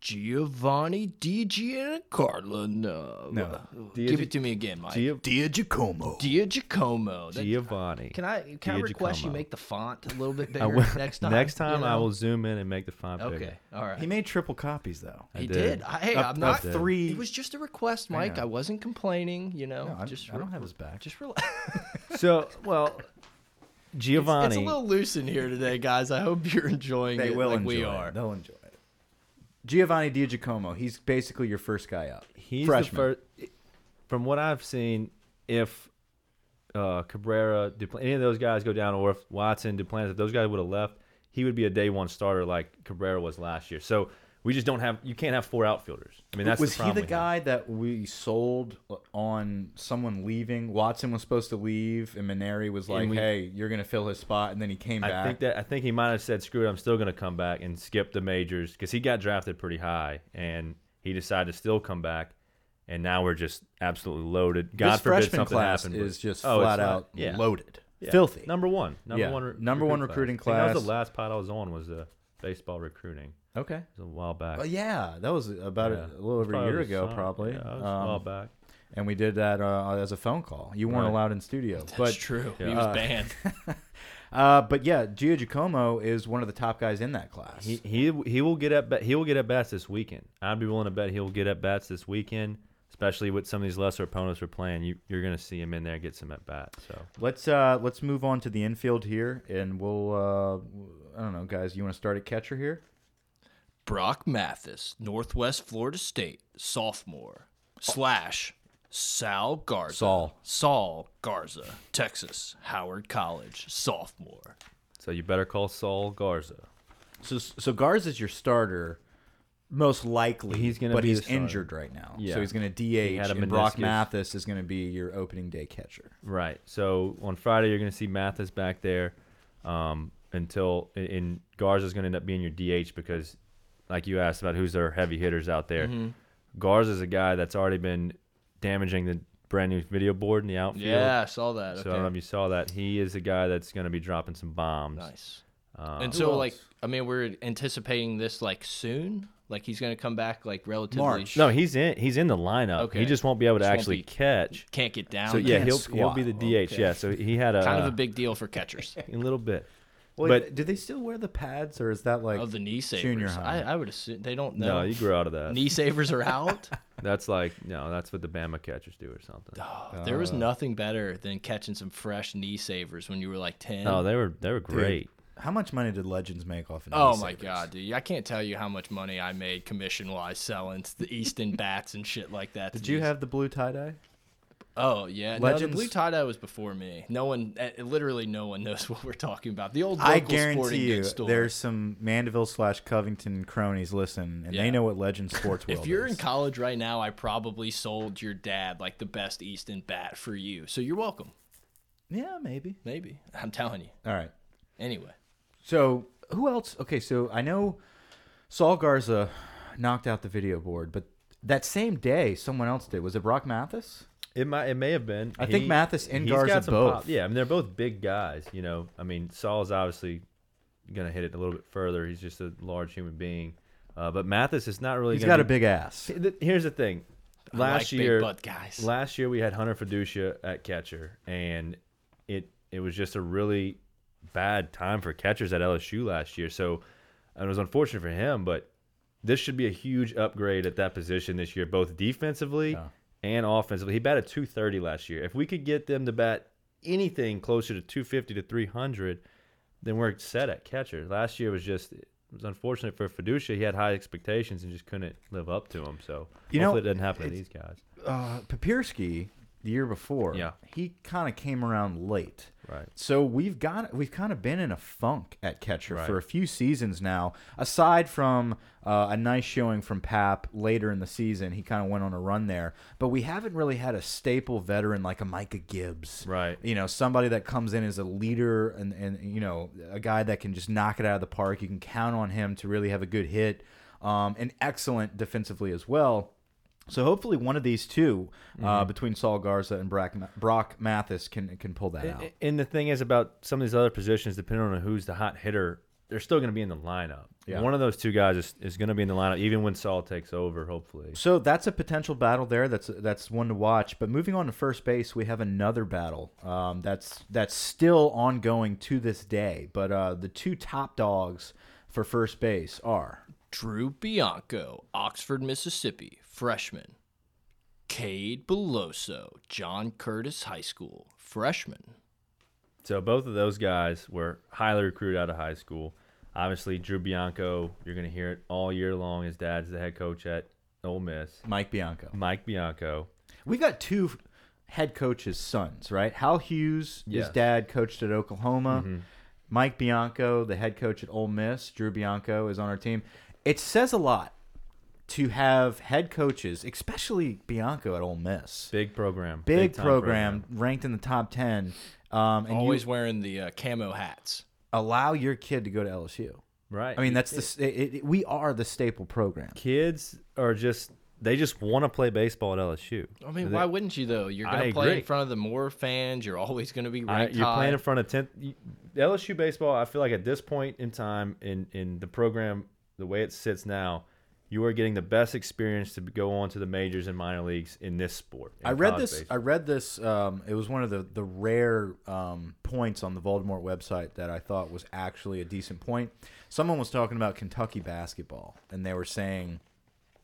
Speaker 2: Giovanni Di Giancarlo. No.
Speaker 3: No.
Speaker 2: Give it to me again, Mike. Dia,
Speaker 4: Gio-
Speaker 3: Dia Giacomo.
Speaker 2: Giacomo. That-
Speaker 4: Giovanni.
Speaker 2: uh, Can I can I
Speaker 4: Dia
Speaker 2: request you
Speaker 4: Giacomo.
Speaker 2: make the font a little bit
Speaker 4: I
Speaker 2: bigger
Speaker 4: will-
Speaker 2: next time?
Speaker 4: Next
Speaker 2: you
Speaker 4: time, I
Speaker 2: know?
Speaker 4: will zoom in and make the font bigger.
Speaker 2: Okay. All right.
Speaker 3: He made triple copies though.
Speaker 2: He
Speaker 4: did.
Speaker 2: did. I, hey,
Speaker 3: Up-
Speaker 2: I'm not
Speaker 3: up three-
Speaker 2: It was just a request, Mike.
Speaker 3: know.
Speaker 2: I wasn't complaining. You know,
Speaker 3: No, I-
Speaker 2: just
Speaker 3: I don't
Speaker 2: re-
Speaker 3: have his back.
Speaker 2: Just relax.
Speaker 4: So, well, Giovanni.
Speaker 2: It's a little loose in here today, guys. I hope you're enjoying
Speaker 3: They
Speaker 2: it
Speaker 3: will
Speaker 2: like
Speaker 3: enjoy
Speaker 2: we
Speaker 3: it.
Speaker 2: are.
Speaker 3: They'll enjoy it. Giovanni Di Giacomo. He's basically your first guy up.
Speaker 4: He's
Speaker 3: Freshman.
Speaker 4: the first. From what I've seen, if uh, Cabrera, Dupl- any of those guys go down, or if Watson, Duplantis, if those guys would have left, he would be a day one starter like Cabrera was last year. So we just don't have. You can't have four outfielders. I mean, that's
Speaker 3: was
Speaker 4: the
Speaker 3: he
Speaker 4: problem
Speaker 3: the
Speaker 4: we have.
Speaker 3: guy that we sold on someone leaving? Watson was supposed to leave, and Maneri was like,
Speaker 4: we-
Speaker 3: "Hey, you're gonna fill his spot," and then he came
Speaker 4: I
Speaker 3: back.
Speaker 4: think that I think he might have said, "Screw it, I'm still going to come back and skip the majors" because he got drafted pretty high, and he decided to still come back, and now we're just absolutely loaded. God
Speaker 3: this
Speaker 4: forbid
Speaker 3: freshman
Speaker 4: something
Speaker 3: class
Speaker 4: happened. but-
Speaker 3: is just
Speaker 4: Oh, it's
Speaker 3: flat
Speaker 4: not-
Speaker 3: out
Speaker 4: yeah.
Speaker 3: loaded,
Speaker 4: Yeah.
Speaker 3: filthy.
Speaker 4: Number one. Number
Speaker 3: Yeah.
Speaker 4: one.
Speaker 3: Number one recruiting
Speaker 4: I think that was
Speaker 3: class.
Speaker 4: the last pod I was on was the baseball recruiting.
Speaker 3: okay.
Speaker 4: It was a while back.
Speaker 3: Well, Oh, yeah, that was about
Speaker 4: Yeah.
Speaker 3: a little over a
Speaker 4: Probably
Speaker 3: year
Speaker 4: was
Speaker 3: ago,
Speaker 4: some-
Speaker 3: probably.
Speaker 4: Yeah, it was a
Speaker 3: Um,
Speaker 4: while back.
Speaker 3: and we did that uh, as a phone call. You weren't
Speaker 4: Right.
Speaker 3: allowed in studio,
Speaker 2: That's
Speaker 3: but
Speaker 2: true. He was banned.
Speaker 3: Uh, but yeah, Gio Giacomo is one of the top guys in that class.
Speaker 4: He, he he will get at bat. He will get at bats this weekend. I'd be willing to bet he'll get at bats this weekend, especially with some of these lesser opponents we're playing. You you're gonna see him in there get some at bats. So
Speaker 3: let's uh, let's move on to the infield here, and we'll uh, I don't know, guys. You want to start at catcher here?
Speaker 2: Brock Mathis, Northwest Florida State, sophomore, slash Sal Garza.
Speaker 3: Saul.
Speaker 2: Saul Garza, Texas, Howard College, sophomore.
Speaker 4: so you better call Saul Garza.
Speaker 3: So so Garza is your starter, most likely.
Speaker 4: He's gonna
Speaker 3: but
Speaker 4: be
Speaker 3: he's
Speaker 4: the starter.
Speaker 3: injured right now,
Speaker 4: Yeah.
Speaker 3: so he's going to DH.
Speaker 4: had a
Speaker 3: and Brock
Speaker 4: meniscus.
Speaker 3: Mathis is going to be your opening day catcher.
Speaker 4: Right. So on Friday you're going to see Mathis back there um, until and- and Garza's going to end up being your DH because, like you asked about who's their heavy hitters out there, Garza's a guy that's already been damaging the brand new video board in the outfield.
Speaker 2: Yeah, I saw that.
Speaker 4: So
Speaker 2: Okay.
Speaker 4: I don't know if you saw that. He is a guy that's going to be dropping some bombs.
Speaker 2: nice.
Speaker 3: Uh,
Speaker 2: and so, like, I mean, we're anticipating this like soon. Like he's going to come back like relatively.
Speaker 3: March.
Speaker 4: No, he's in. He's in the lineup.
Speaker 2: Okay.
Speaker 4: He just won't be able to
Speaker 2: Just won't
Speaker 4: actually
Speaker 2: be-
Speaker 4: catch.
Speaker 2: Can't get down.
Speaker 4: So yeah,
Speaker 3: can't
Speaker 4: he'll he'll
Speaker 3: squat.
Speaker 4: be the DH. Yeah. So he had a
Speaker 3: Uh,
Speaker 2: kind of a big deal for catchers.
Speaker 4: a little bit.
Speaker 3: Well,
Speaker 4: But-
Speaker 3: do they still wear the pads, or is that like
Speaker 2: of the knee savers.
Speaker 3: junior high?
Speaker 2: I, I would assume they don't
Speaker 4: No,
Speaker 2: know.
Speaker 4: you grew out of that.
Speaker 2: knee savers are out.
Speaker 4: That's like no, that's what the Bama catchers do or something.
Speaker 2: Oh, there was
Speaker 3: Uh,
Speaker 2: nothing better than catching some fresh knee savers when you were like ten.
Speaker 3: Oh,
Speaker 4: No, they were they were
Speaker 3: Dude,
Speaker 4: great.
Speaker 3: How much money did Legends make off? Of
Speaker 2: Oh
Speaker 3: knee
Speaker 2: my
Speaker 3: savers?
Speaker 2: god, dude! I can't tell you how much money I made commission wise selling to the Easton bats and shit like that. to
Speaker 3: Did you
Speaker 2: these-
Speaker 3: have the blue tie dye?
Speaker 2: Oh yeah, no, the
Speaker 3: Legends?
Speaker 2: blue tie dye was before me. No one, eh, literally, no one knows what we're talking about. The old local
Speaker 3: I
Speaker 2: sporting
Speaker 3: guarantee you,
Speaker 2: goods store.
Speaker 3: there's some Mandeville slash Covington cronies listen, and
Speaker 2: Yeah.
Speaker 3: they know what Legend Sports World
Speaker 2: If you're
Speaker 3: is.
Speaker 2: in college right now, I probably sold your dad like the best Easton bat for you. So you're welcome.
Speaker 3: yeah, maybe.
Speaker 2: Maybe I'm telling you.
Speaker 3: All right.
Speaker 2: Anyway,
Speaker 3: So who else? Okay, so I know Saul Garza knocked out the video board, but that same day, someone else did. Was it Brock Mathis?
Speaker 4: It might it may have been.
Speaker 3: I think Mathis and
Speaker 4: he's
Speaker 3: Garza
Speaker 4: got some
Speaker 3: both.
Speaker 4: pop. Yeah, I mean they're both big guys. You know, I mean Saul's obviously gonna hit it a little bit further. He's just a large human being. Uh, but Mathis is not really.
Speaker 3: He's
Speaker 4: gonna
Speaker 3: got a
Speaker 4: be-
Speaker 3: big ass.
Speaker 4: Th- Here's the thing. Last
Speaker 2: like big
Speaker 4: year,
Speaker 2: butt guys.
Speaker 4: last year we had Hunter Fiducia at catcher, and it it was just a really bad time for catchers at LSU last year. So and it was unfortunate for him, but this should be a huge upgrade at that position this year, both defensively and offensively. He batted 230 last year. If we could get them to bat anything closer to 250 to 300, then we're set at catcher. Last year was just it was unfortunate for Fiducia. He had high expectations and just couldn't live up to them. So
Speaker 3: You know,
Speaker 4: hopefully it doesn't happen to these guys.
Speaker 3: Uh, Papirski, the year before,
Speaker 4: Yeah.
Speaker 3: he kind of came around late.
Speaker 4: Right.
Speaker 3: So we've got we've kind of been in a funk at catcher
Speaker 4: Right.
Speaker 3: for a few seasons now. Aside from uh, a nice showing from Pap later in the season, he kind of went on a run there. But we haven't really had a staple veteran like a Micah Gibbs,
Speaker 4: Right.
Speaker 3: You know, somebody that comes in as a leader and and you know a guy that can just knock it out of the park. You can count on him to really have a good hit, um, and excellent defensively as well. So hopefully one of these 2 uh,
Speaker 4: Mm-hmm.
Speaker 3: between Saul Garza and Brock, Brock Mathis, can can pull that out.
Speaker 4: And the thing is about some of these other positions, depending on who's the hot hitter they're still going to be in the lineup.
Speaker 3: Yeah.
Speaker 4: One of those two guys is, is going to be in the lineup, even when Saul takes over. Hopefully,
Speaker 3: So that's a potential battle there. That's that's one to watch. But moving on to first base, we have another battle um, that's that's still ongoing to this day. But uh, the two top dogs for first base are
Speaker 2: Drew Bianco, Oxford, Mississippi, freshman. Cade Beloso, John Curtis High School, freshman.
Speaker 4: so both of those guys were highly recruited out of high school. Obviously, Drew Bianco, you're going to hear it all year long. His dad's the head coach at Ole Miss.
Speaker 3: Mike Bianco.
Speaker 4: Mike Bianco,
Speaker 3: We've got two head coaches' sons, right? Hal Hughes,
Speaker 4: Yes.
Speaker 3: his dad, coached at Oklahoma. Mike Bianco, the head coach at Ole Miss. Drew Bianco is on our team. It says a lot to have head coaches, especially Bianco at Ole Miss.
Speaker 4: big program,
Speaker 3: Big,
Speaker 4: big-time
Speaker 3: program, ranked in the top 10. Um, and
Speaker 2: Always
Speaker 3: you
Speaker 2: wearing the uh, camo hats.
Speaker 3: allow your kid to go to LSU.
Speaker 4: right?
Speaker 3: I mean, that's the s- it, it, we are the staple program.
Speaker 4: kids are just they just want to play baseball at LSU.
Speaker 2: I mean, why wouldn't you though? You're
Speaker 4: I
Speaker 2: gonna play
Speaker 4: agree.
Speaker 2: in front of the more fans. You're always gonna be
Speaker 4: I,
Speaker 2: ranked
Speaker 4: you're
Speaker 2: high.
Speaker 4: playing
Speaker 3: uh,
Speaker 4: in front of tenth LSU baseball. I feel like at this point in time in in the program, the way it sits now, you are getting the best experience to go on to the majors and minor leagues in this sport. in
Speaker 3: I read
Speaker 4: college
Speaker 3: this.
Speaker 4: baseball.
Speaker 3: I read this. Um, it was one of the the rare um, points on the Voldemort website that I thought was actually a decent point. Someone was talking about Kentucky basketball, and they were saying,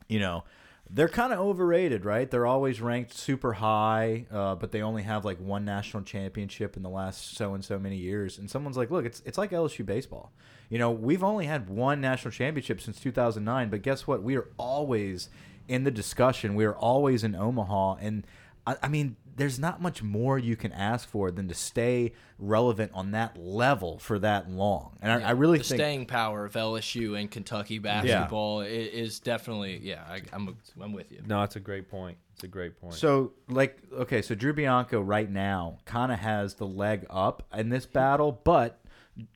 Speaker 3: you know, they're kind of overrated, right? They're always ranked super high, uh, but they only have like one national championship in the last so and so many years. And someone's like, look, it's it's like LSU baseball. You know, we've only had one national championship since 2009, but guess what? We are always in the discussion. We are always in Omaha, and I, I mean, there's not much more you can ask for than to stay relevant on that level for that long. And I, I really
Speaker 2: the
Speaker 3: think
Speaker 2: staying power of LSU and Kentucky basketball i- is definitely yeah. I, I'm I'm with you.
Speaker 4: no, it's a great point. It's a great point.
Speaker 3: So, like, okay, so Drew Bianco right now kind of has the leg up in this battle, but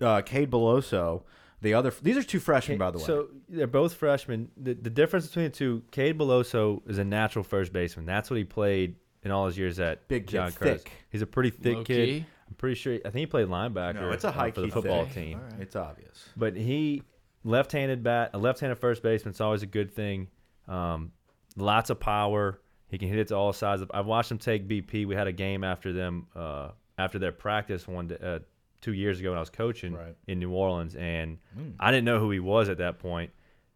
Speaker 3: uh, Cade Beloso, the other, these are two freshmen, by the way.
Speaker 4: So they're both freshmen. The, the difference between the two, Cade Beloso is a natural first baseman. That's what he played in all his years at
Speaker 3: Big kid,
Speaker 4: John Curtis.
Speaker 3: thick.
Speaker 4: He's a pretty thick
Speaker 2: Low
Speaker 4: kid.
Speaker 2: key?
Speaker 4: I'm pretty sure. I think he played linebacker.
Speaker 3: No, it's a
Speaker 4: uh,
Speaker 3: high
Speaker 4: for the
Speaker 3: key
Speaker 4: football
Speaker 3: thing.
Speaker 4: team.
Speaker 3: it's obvious.
Speaker 4: But he left-handed bat, a left-handed first baseman's always a good thing. Um, lots of power. He can hit it to all sides. Of, I've watched him take BP. We had a game after them uh, after their practice one day, uh, two years ago when I was coaching
Speaker 3: Right.
Speaker 4: in New Orleans, and
Speaker 2: Hmm.
Speaker 4: I didn't know who he was at that point.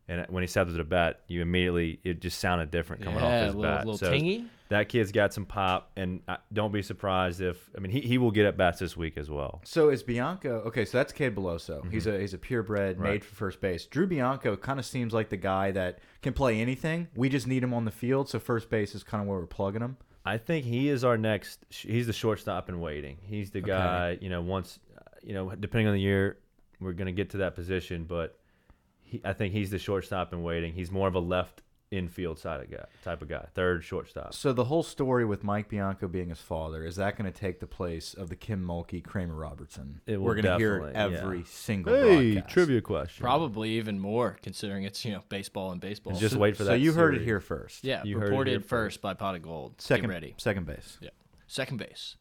Speaker 4: And when he stepped up to the bat, you immediately it just sounded different coming
Speaker 2: Yeah,
Speaker 4: off
Speaker 2: a
Speaker 4: his
Speaker 2: little-
Speaker 4: bat.
Speaker 2: little tingy?
Speaker 4: That kid's got some pop, and I, don't be surprised if I mean he, he will get at bats this week as well.
Speaker 3: So is Bianco okay? So that's Cade Beloso. He's a he's a purebred, made for first base. Drew Bianco kind of seems like the guy that can play anything. We just need him on the field, so first base is kind of where we're plugging him.
Speaker 4: I think he is our next. He's the shortstop in waiting. He's the guy. You know, once uh, you know, depending on the year, we're gonna get to that position. But he, I think he's the shortstop in waiting. He's more of a left infield side of guy type of guy, third shortstop.
Speaker 3: So the whole story with Mike Bianco being his father is that going to take the place of the Kim Mulkey Kramer Robertson?
Speaker 4: It will
Speaker 3: We're gonna hear it
Speaker 4: definitely,
Speaker 3: every
Speaker 4: yeah.
Speaker 3: single broadcast.
Speaker 4: question.
Speaker 2: Probably even more considering it's you know baseball and baseball.
Speaker 4: just wait for
Speaker 3: so
Speaker 4: that.
Speaker 3: you heard it
Speaker 4: series.
Speaker 3: here first.
Speaker 2: yeah,
Speaker 4: you heard it
Speaker 2: reported
Speaker 4: here
Speaker 2: first by Pot of Gold.
Speaker 3: Second,
Speaker 2: Get ready.
Speaker 3: Second base.
Speaker 2: Yeah. Second base.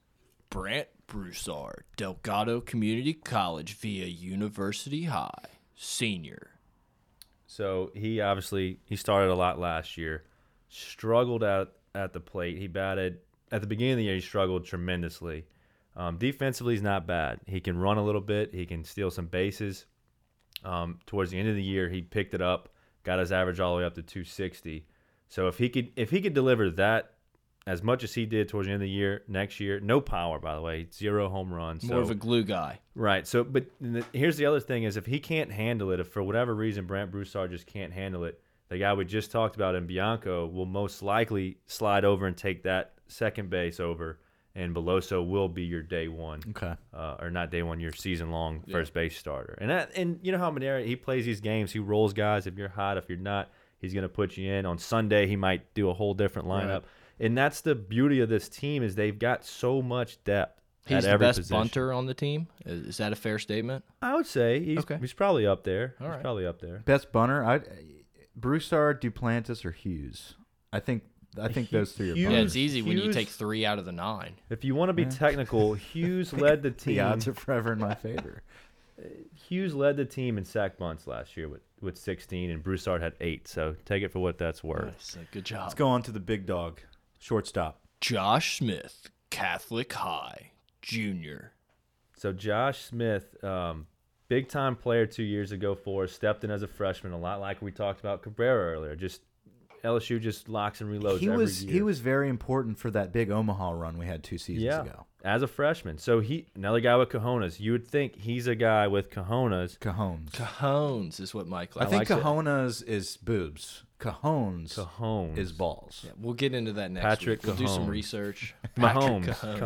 Speaker 2: Brant Broussard, Delgado Community College via University High, senior.
Speaker 4: So he obviously he started a lot last year, struggled out at the plate. He batted at the beginning of the year. He struggled tremendously. Um, defensively, he's not bad. He can run a little bit. He can steal some bases. Um, towards the end of the year, he picked it up, got his average all the way up to 260. So if he could if he could deliver that as much as he did towards the end of the year next year, no power by the way, zero home runs.
Speaker 2: More
Speaker 4: so-
Speaker 2: of a glue guy.
Speaker 4: Right. So, but the, here's the other thing: is if he can't handle it, if for whatever reason Brant Broussard just can't handle it, the guy we just talked about in Bianco will most likely slide over and take that second base over, and Beloso will be your day one,
Speaker 2: Mm.
Speaker 3: Okay.
Speaker 4: uh, or not day one, your season long first base starter. And that, and you know how Monera he plays these games, he rolls guys. If you're hot, if you're not, he's gonna put you in. On Sunday, he might do a whole different lineup. And that's the beauty of this team is they've got so much depth. at
Speaker 2: He's the
Speaker 4: every
Speaker 2: best
Speaker 4: position.
Speaker 2: bunter on the team. Is, is that a fair statement?
Speaker 4: I would say he's,
Speaker 2: Okay.
Speaker 4: he's probably up there. he's
Speaker 2: right.
Speaker 4: probably up there.
Speaker 3: Best bunter. I, Broussard, Duplantis, or Hughes. I think. I think those three are.
Speaker 4: Hughes-
Speaker 3: bunters.
Speaker 2: Yeah, it's easy when you
Speaker 4: Hughes-
Speaker 2: take three out of the nine.
Speaker 4: If you want to be technical, Hughes led the team.
Speaker 3: The odds are forever in my favor.
Speaker 4: Hughes led the team in sack bunts last year with, with 16, and Broussard had eight. So take it for what that's worth.
Speaker 2: Nice. uh, Good job.
Speaker 3: Let's go on to the big dog, shortstop.
Speaker 2: Josh Smith, Catholic High, junior.
Speaker 4: So Josh Smith, um, big time player two years ago for us, stepped in as a freshman, a lot like we talked about Cabrera earlier. Just LSU just locks and reloads.
Speaker 3: He
Speaker 4: every
Speaker 3: was
Speaker 4: year.
Speaker 3: he was very important for that big Omaha run we had two seasons ago.
Speaker 4: As a freshman. So he another guy with cojones. You would think he's a guy with cojones.
Speaker 3: Cajones.
Speaker 2: Cajones is what Mike
Speaker 3: I
Speaker 2: likes.
Speaker 3: think
Speaker 4: likes it.
Speaker 3: Cajonas is boobs. Cajones,
Speaker 4: Cajones.
Speaker 3: is balls.
Speaker 2: We'll get into that next
Speaker 4: Patrick
Speaker 2: week. We'll do some
Speaker 4: Cajones.
Speaker 2: research.
Speaker 4: Mahomes.
Speaker 2: Cajones.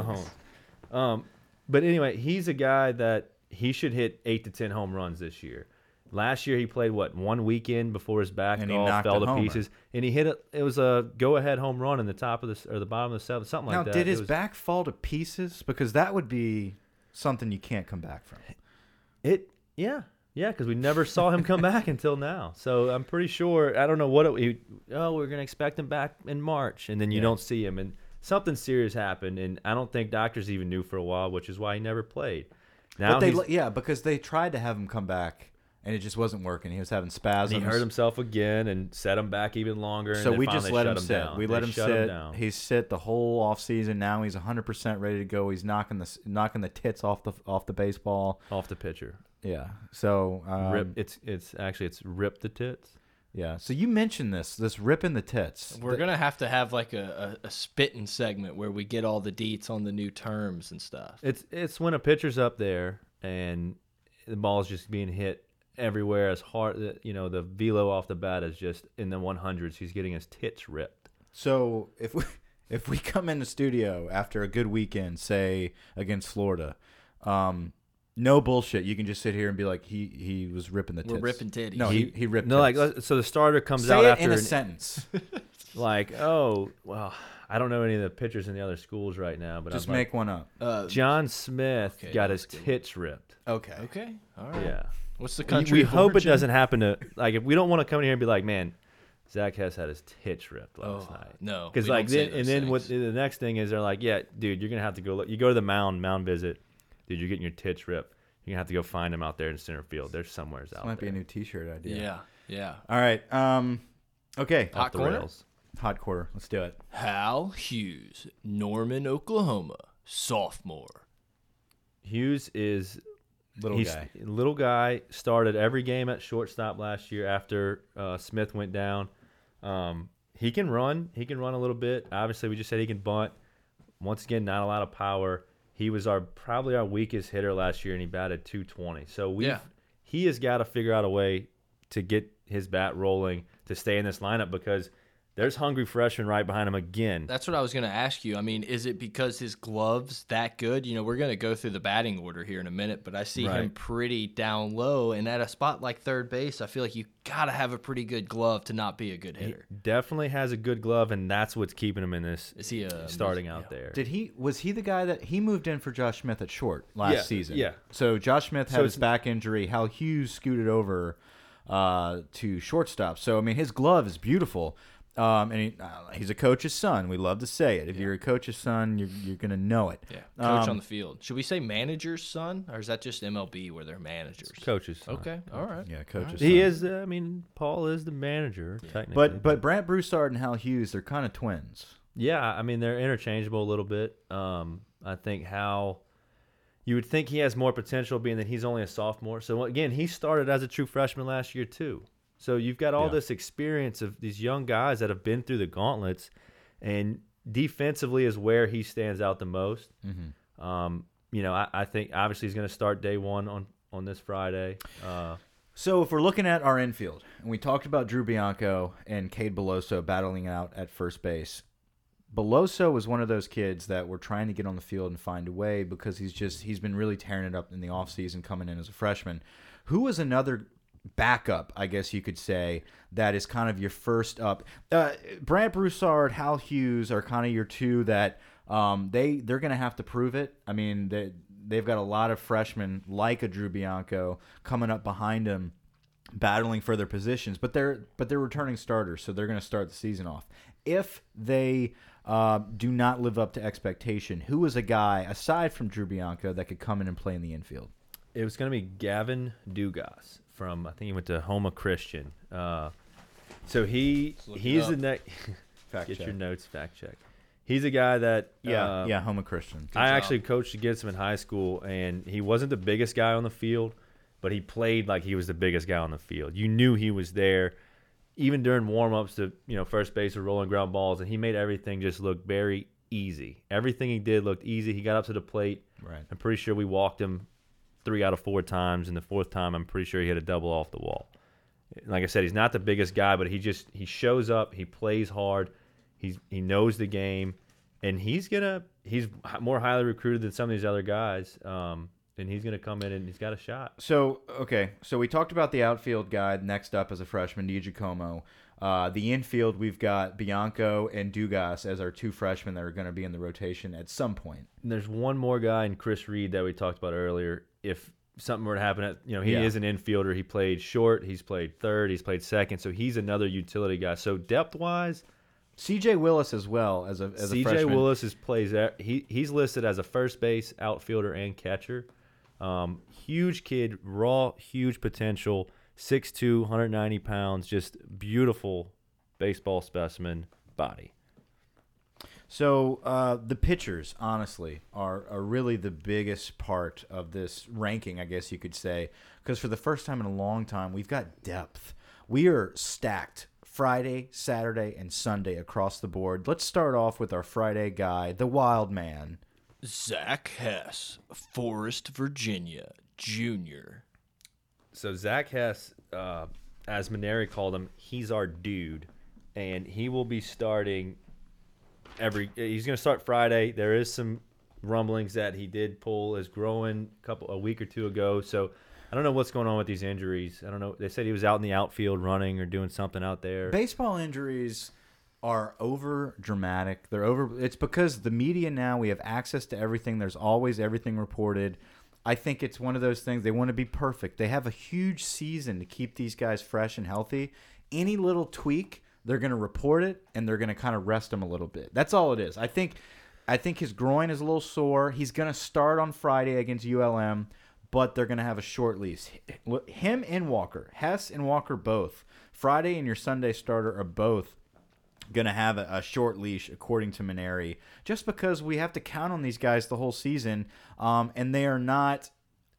Speaker 4: Cajones. Um, but anyway, he's a guy that he should hit eight to ten home runs this year. Last year he played what one weekend before his back
Speaker 3: And he
Speaker 4: all
Speaker 3: knocked
Speaker 4: fell
Speaker 3: a
Speaker 4: to
Speaker 3: homer.
Speaker 4: pieces, and he hit a, it was a go ahead home run in the top of the or the bottom of the seventh, something
Speaker 3: now,
Speaker 4: like that.
Speaker 3: did
Speaker 4: It
Speaker 3: his
Speaker 4: was-
Speaker 3: back fall to pieces? Because that would be something you can't come back from.
Speaker 4: It yeah yeah because we never saw him come back until now. So I'm pretty sure I don't know what it, he, oh we're gonna expect him back in March and then you don't see him and something serious happened and I don't think doctors even knew for a while, which is why he never played. Now
Speaker 3: But they,
Speaker 4: he's-
Speaker 3: li- yeah, because they tried to have him come back, and it just wasn't working. He was having spasms.
Speaker 4: and he hurt himself again and set him back even longer. and
Speaker 3: So
Speaker 4: then
Speaker 3: we just
Speaker 4: finally
Speaker 3: let
Speaker 4: shut
Speaker 3: him sit.
Speaker 4: down.
Speaker 3: We let
Speaker 4: They
Speaker 3: him
Speaker 4: shut
Speaker 3: sit.
Speaker 4: down.
Speaker 3: He's sit the whole off season. Now he's 100% ready to go. He's knocking the s- knocking the tits off the off the baseball.
Speaker 4: off the pitcher.
Speaker 3: Yeah. So um,
Speaker 4: Rip. it's it's actually it's rip the tits.
Speaker 3: Yeah. So you mentioned this this ripping the tits.
Speaker 2: We're gonna have to have like a, a, a spitting segment where we get all the deets on the new terms and stuff.
Speaker 4: It's it's when a pitcher's up there and the ball's just being hit everywhere as hard that you know the velo off the bat is just in the 100s. He's getting his tits ripped.
Speaker 3: So if we if we come in the studio after a good weekend, say against Florida, um, no bullshit. You can just sit here and be like, he he was ripping the tits.
Speaker 2: We're ripping titties.
Speaker 3: No, he he ripped.
Speaker 4: No, like
Speaker 3: tits.
Speaker 4: let- so the starter comes
Speaker 3: say
Speaker 4: out
Speaker 3: it
Speaker 4: after
Speaker 3: in a
Speaker 4: an-
Speaker 3: sentence.
Speaker 4: like oh well I don't know any of the pitchers in the other schools right now, but
Speaker 3: just
Speaker 4: I'm like,
Speaker 3: make one up.
Speaker 2: Uh,
Speaker 4: John Smith
Speaker 2: Okay,
Speaker 4: got
Speaker 2: that
Speaker 4: his
Speaker 2: was good.
Speaker 4: tits ripped.
Speaker 3: Okay.
Speaker 2: okay, all right.
Speaker 4: Yeah.
Speaker 2: What's the
Speaker 4: We-
Speaker 2: country?
Speaker 4: we
Speaker 2: of
Speaker 4: hope it
Speaker 2: origin?
Speaker 4: doesn't happen to like if we don't want to come in here and be like, man, Zach Hess had his tits ripped last
Speaker 2: Oh,
Speaker 4: night.
Speaker 2: no,
Speaker 4: because
Speaker 2: we don't
Speaker 4: like
Speaker 2: say
Speaker 4: then,
Speaker 2: those
Speaker 4: and then what
Speaker 2: things.
Speaker 4: the next thing is they're like, yeah, dude, you're gonna have to go. Look, you go to the mound, mound visit, dude. You're getting your tits ripped. You're gonna have to go find them out there in center field. There's somewhere's out
Speaker 3: Might be
Speaker 4: there.
Speaker 3: a new T-shirt idea.
Speaker 2: Yeah, yeah.
Speaker 3: All right. Um. Okay.
Speaker 2: Hot
Speaker 4: off the
Speaker 2: corner?
Speaker 4: rails.
Speaker 3: Hot quarter. Let's do it.
Speaker 2: Hal Hughes, Norman, Oklahoma, sophomore.
Speaker 4: Hughes is
Speaker 3: Little
Speaker 4: he's-
Speaker 3: guy.
Speaker 4: Little guy started every game at shortstop last year after uh, Smith went down. Um, he can run. He can run a little bit. Obviously, we just said he can bunt. Once again, not a lot of power. He was our probably our weakest hitter last year, and he batted 220. So we
Speaker 2: Yeah.
Speaker 4: have he has got to figure out a way to get his bat rolling to stay in this lineup because there's hungry freshmen right behind him again.
Speaker 2: That's what I was going to ask you. I mean, is it because his gloves that good? You know, we're going to go through the batting order here in a minute, but I see him
Speaker 4: Right.
Speaker 2: pretty down low, and at a spot like third base, I feel like you got to have a pretty good glove to not be a good hitter.
Speaker 4: Definitely has a good glove, and that's what's keeping him in this
Speaker 2: Is he a
Speaker 4: starting out there.
Speaker 3: Did he was he the guy that he moved in for Josh Smith at short last
Speaker 4: Yeah,
Speaker 3: season?
Speaker 4: yeah.
Speaker 3: So Josh Smith had
Speaker 4: So
Speaker 3: his
Speaker 4: it's-
Speaker 3: back injury. Hal Hughes scooted over uh, to shortstop. So I mean, his glove is beautiful. Um, and he, uh, he's a coach's son. We love to say it. If you're a coach's son, you're, you're gonna know it.
Speaker 2: Yeah, coach
Speaker 3: Um,
Speaker 2: on the field. Should we say manager's son, or is that just MLB where they're managers?
Speaker 4: Coaches.
Speaker 2: Okay, all right.
Speaker 3: Yeah, coach's son.
Speaker 4: He is. Uh, I mean, Paul is the manager technically.
Speaker 3: But but Brant Broussard and Hal Hughes, they're kind of twins.
Speaker 4: yeah, I mean they're interchangeable a little bit. Um, I think how you would think he has more potential, being that he's only a sophomore. So again, he started as a true freshman last year too. So you've got all
Speaker 3: Yeah.
Speaker 4: this experience of these young guys that have been through the gauntlets, and defensively is where he stands out the most. Um, you know, I, I think obviously he's going to start day one on on this Friday. Uh,
Speaker 3: So if we're looking at our infield, and we talked about Drew Bianco and Cade Beloso battling out at first base. Beloso was one of those kids that were trying to get on the field and find a way because he's just he's been really tearing it up in the offseason coming in as a freshman. Who was another backup, I guess you could say, that is kind of your first up? Uh, Brad Broussard, Hal Hughes are kind of your two that um, they they're going to have to prove it. I mean, they they've got a lot of freshmen like a Drew Bianco coming up behind him battling for their positions, but they're but they're returning starters, so they're going to start the season off. If they uh, do not live up to expectation, who is a guy aside from Drew Bianco that could come in and play in the infield?
Speaker 4: it was going to be Gavin Dugas from I think he went to Homa Christian. Uh, so he
Speaker 2: look it
Speaker 4: he's
Speaker 2: up.
Speaker 4: the next.
Speaker 3: Fact
Speaker 4: get
Speaker 3: check.
Speaker 4: your notes fact check. He's a guy that
Speaker 3: yeah,
Speaker 4: uh,
Speaker 3: yeah, Homo Christian.
Speaker 4: I
Speaker 2: job.
Speaker 4: actually coached against him in high school, and he wasn't the biggest guy on the field, but he played like he was the biggest guy on the field. You knew he was there, even during warm-ups to you know first base or rolling ground balls, and he made everything just look very easy. Everything he did looked easy. He got up to the plate.
Speaker 3: Right.
Speaker 4: I'm pretty sure we walked him three out of four times, and the fourth time, I'm pretty sure he hit a double off the wall like I said, he's not the biggest guy, but he just he shows up, he plays hard, he's he knows the game, and he's gonna he's h- more highly recruited than some of these other guys, um, and he's gonna come in and he's got a shot.
Speaker 3: So okay, so we talked about the outfield guy. Next up as a freshman, DiGiacomo. Uh, the infield, we've got Bianco and Dugas as our two freshmen that are going to be in the rotation at some point.
Speaker 4: And there's one more guy in Chris Reed that we talked about earlier. If something were to happen, at you know he
Speaker 3: Yeah.
Speaker 4: is an infielder. He played short, he's played third, he's played second, so he's another utility guy. So depth wise,
Speaker 3: C.J. Willis as well as a as a
Speaker 4: CJ
Speaker 3: freshman.
Speaker 4: Willis is plays at- he he's listed as a first base outfielder and catcher. Um, huge kid, raw, huge potential. 6'2", 190 pounds, just beautiful baseball specimen body.
Speaker 3: So uh, the pitchers, honestly, are, are really the biggest part of this ranking, I guess you could say, because for the first time in a long time, we've got depth. We are stacked Friday, Saturday, and Sunday across the board. Let's start off with our Friday guy, the Wild Man.
Speaker 2: Zach Hess, Forest, Virginia, Junior.
Speaker 4: So Zach Hess, uh, as Maneri called him, he's our dude, and he will be starting every. He's going to start Friday. There is some rumblings that he did pull is growing a couple a week or two ago. So I don't know what's going on with these injuries. I don't know. They said he was out in the outfield running or doing something out there.
Speaker 3: Baseball injuries are over dramatic. They're over. It's because the media now we have access to everything. There's always everything reported. I think it's one of those things they want to be perfect. They have a huge season to keep these guys fresh and healthy. Any little tweak, they're going to report it and they're going to kind of rest them a little bit. That's all it is. I think I think his groin is a little sore. He's going to start on Friday against ULM, but they're going to have a short leash. H- Him and Walker, Hess and Walker both. Friday and your Sunday starter are both going to have a, a short leash, according to Maneri, just because we have to count on these guys the whole season, um, and they are not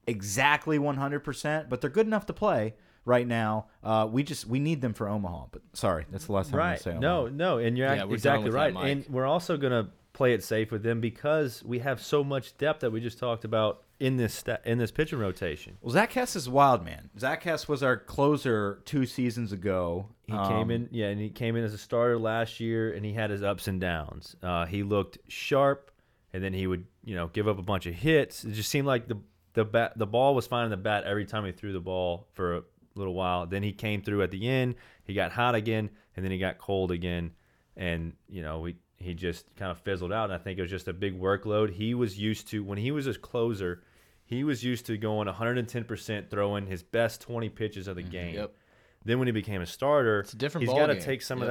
Speaker 3: exactly 100%, but they're good enough to play right now. Uh, we just we need them for Omaha. But sorry, that's the last time I'm
Speaker 4: Right.
Speaker 3: going to say
Speaker 4: No,
Speaker 3: Omaha.
Speaker 4: no, and you're
Speaker 2: Yeah,
Speaker 4: act-
Speaker 2: we're done
Speaker 4: exactly
Speaker 2: with that,
Speaker 4: right.
Speaker 2: Mike.
Speaker 4: and we're also gonna play it safe with them because we have so much depth that we just talked about in this sta in this pitching rotation.
Speaker 3: Well, Zach Hess is wild, man. Zach Hess was our closer two seasons ago.
Speaker 4: He came in, yeah, and he came in as a starter last year, and he had his ups and downs. Uh, he looked sharp, and then he would, you know, give up a bunch of hits. It just seemed like the the bat, the ball was finding the bat every time he threw the ball for a little while. Then he came through at the end. He got hot again, and then he got cold again, and you know, we he just kind of fizzled out. And I think it was just a big workload. He was used to when he was a closer. He was used to going 110%, throwing his best 20 pitches of the game.
Speaker 2: Yep.
Speaker 4: Then when he became a starter,
Speaker 2: It's a different
Speaker 4: He's
Speaker 2: ball
Speaker 4: gotta
Speaker 2: game.
Speaker 4: take some of
Speaker 2: Yep.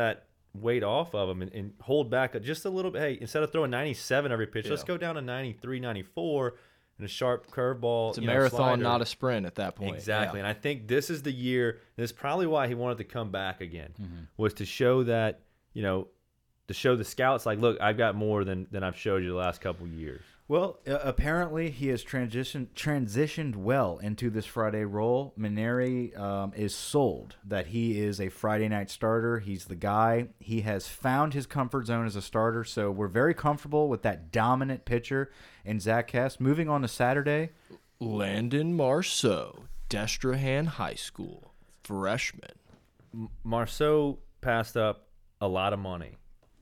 Speaker 4: that weight off of him and, and hold back just a little bit. Hey, instead of throwing 97 every pitch, let's go down to 93, 94, and a sharp curveball.
Speaker 2: It's a marathon, not a sprint at that point.
Speaker 4: Exactly, and I think this is the year. And this is probably why he wanted to come back again,
Speaker 2: Mm-hmm.
Speaker 4: was to show that you know, to show the scouts like, look, I've got more than than I've showed you the last couple years.
Speaker 3: Well, uh, apparently he has transitioned transitioned well into this Friday role. Maneri um, is sold that he is a Friday night starter. He's the guy. He has found his comfort zone as a starter, so we're very comfortable with that dominant pitcher in Zach Hess. Moving on to Saturday,
Speaker 2: Yeah. Landon Marceau, Destrehan High School, freshman.
Speaker 4: Marceau passed up a lot of money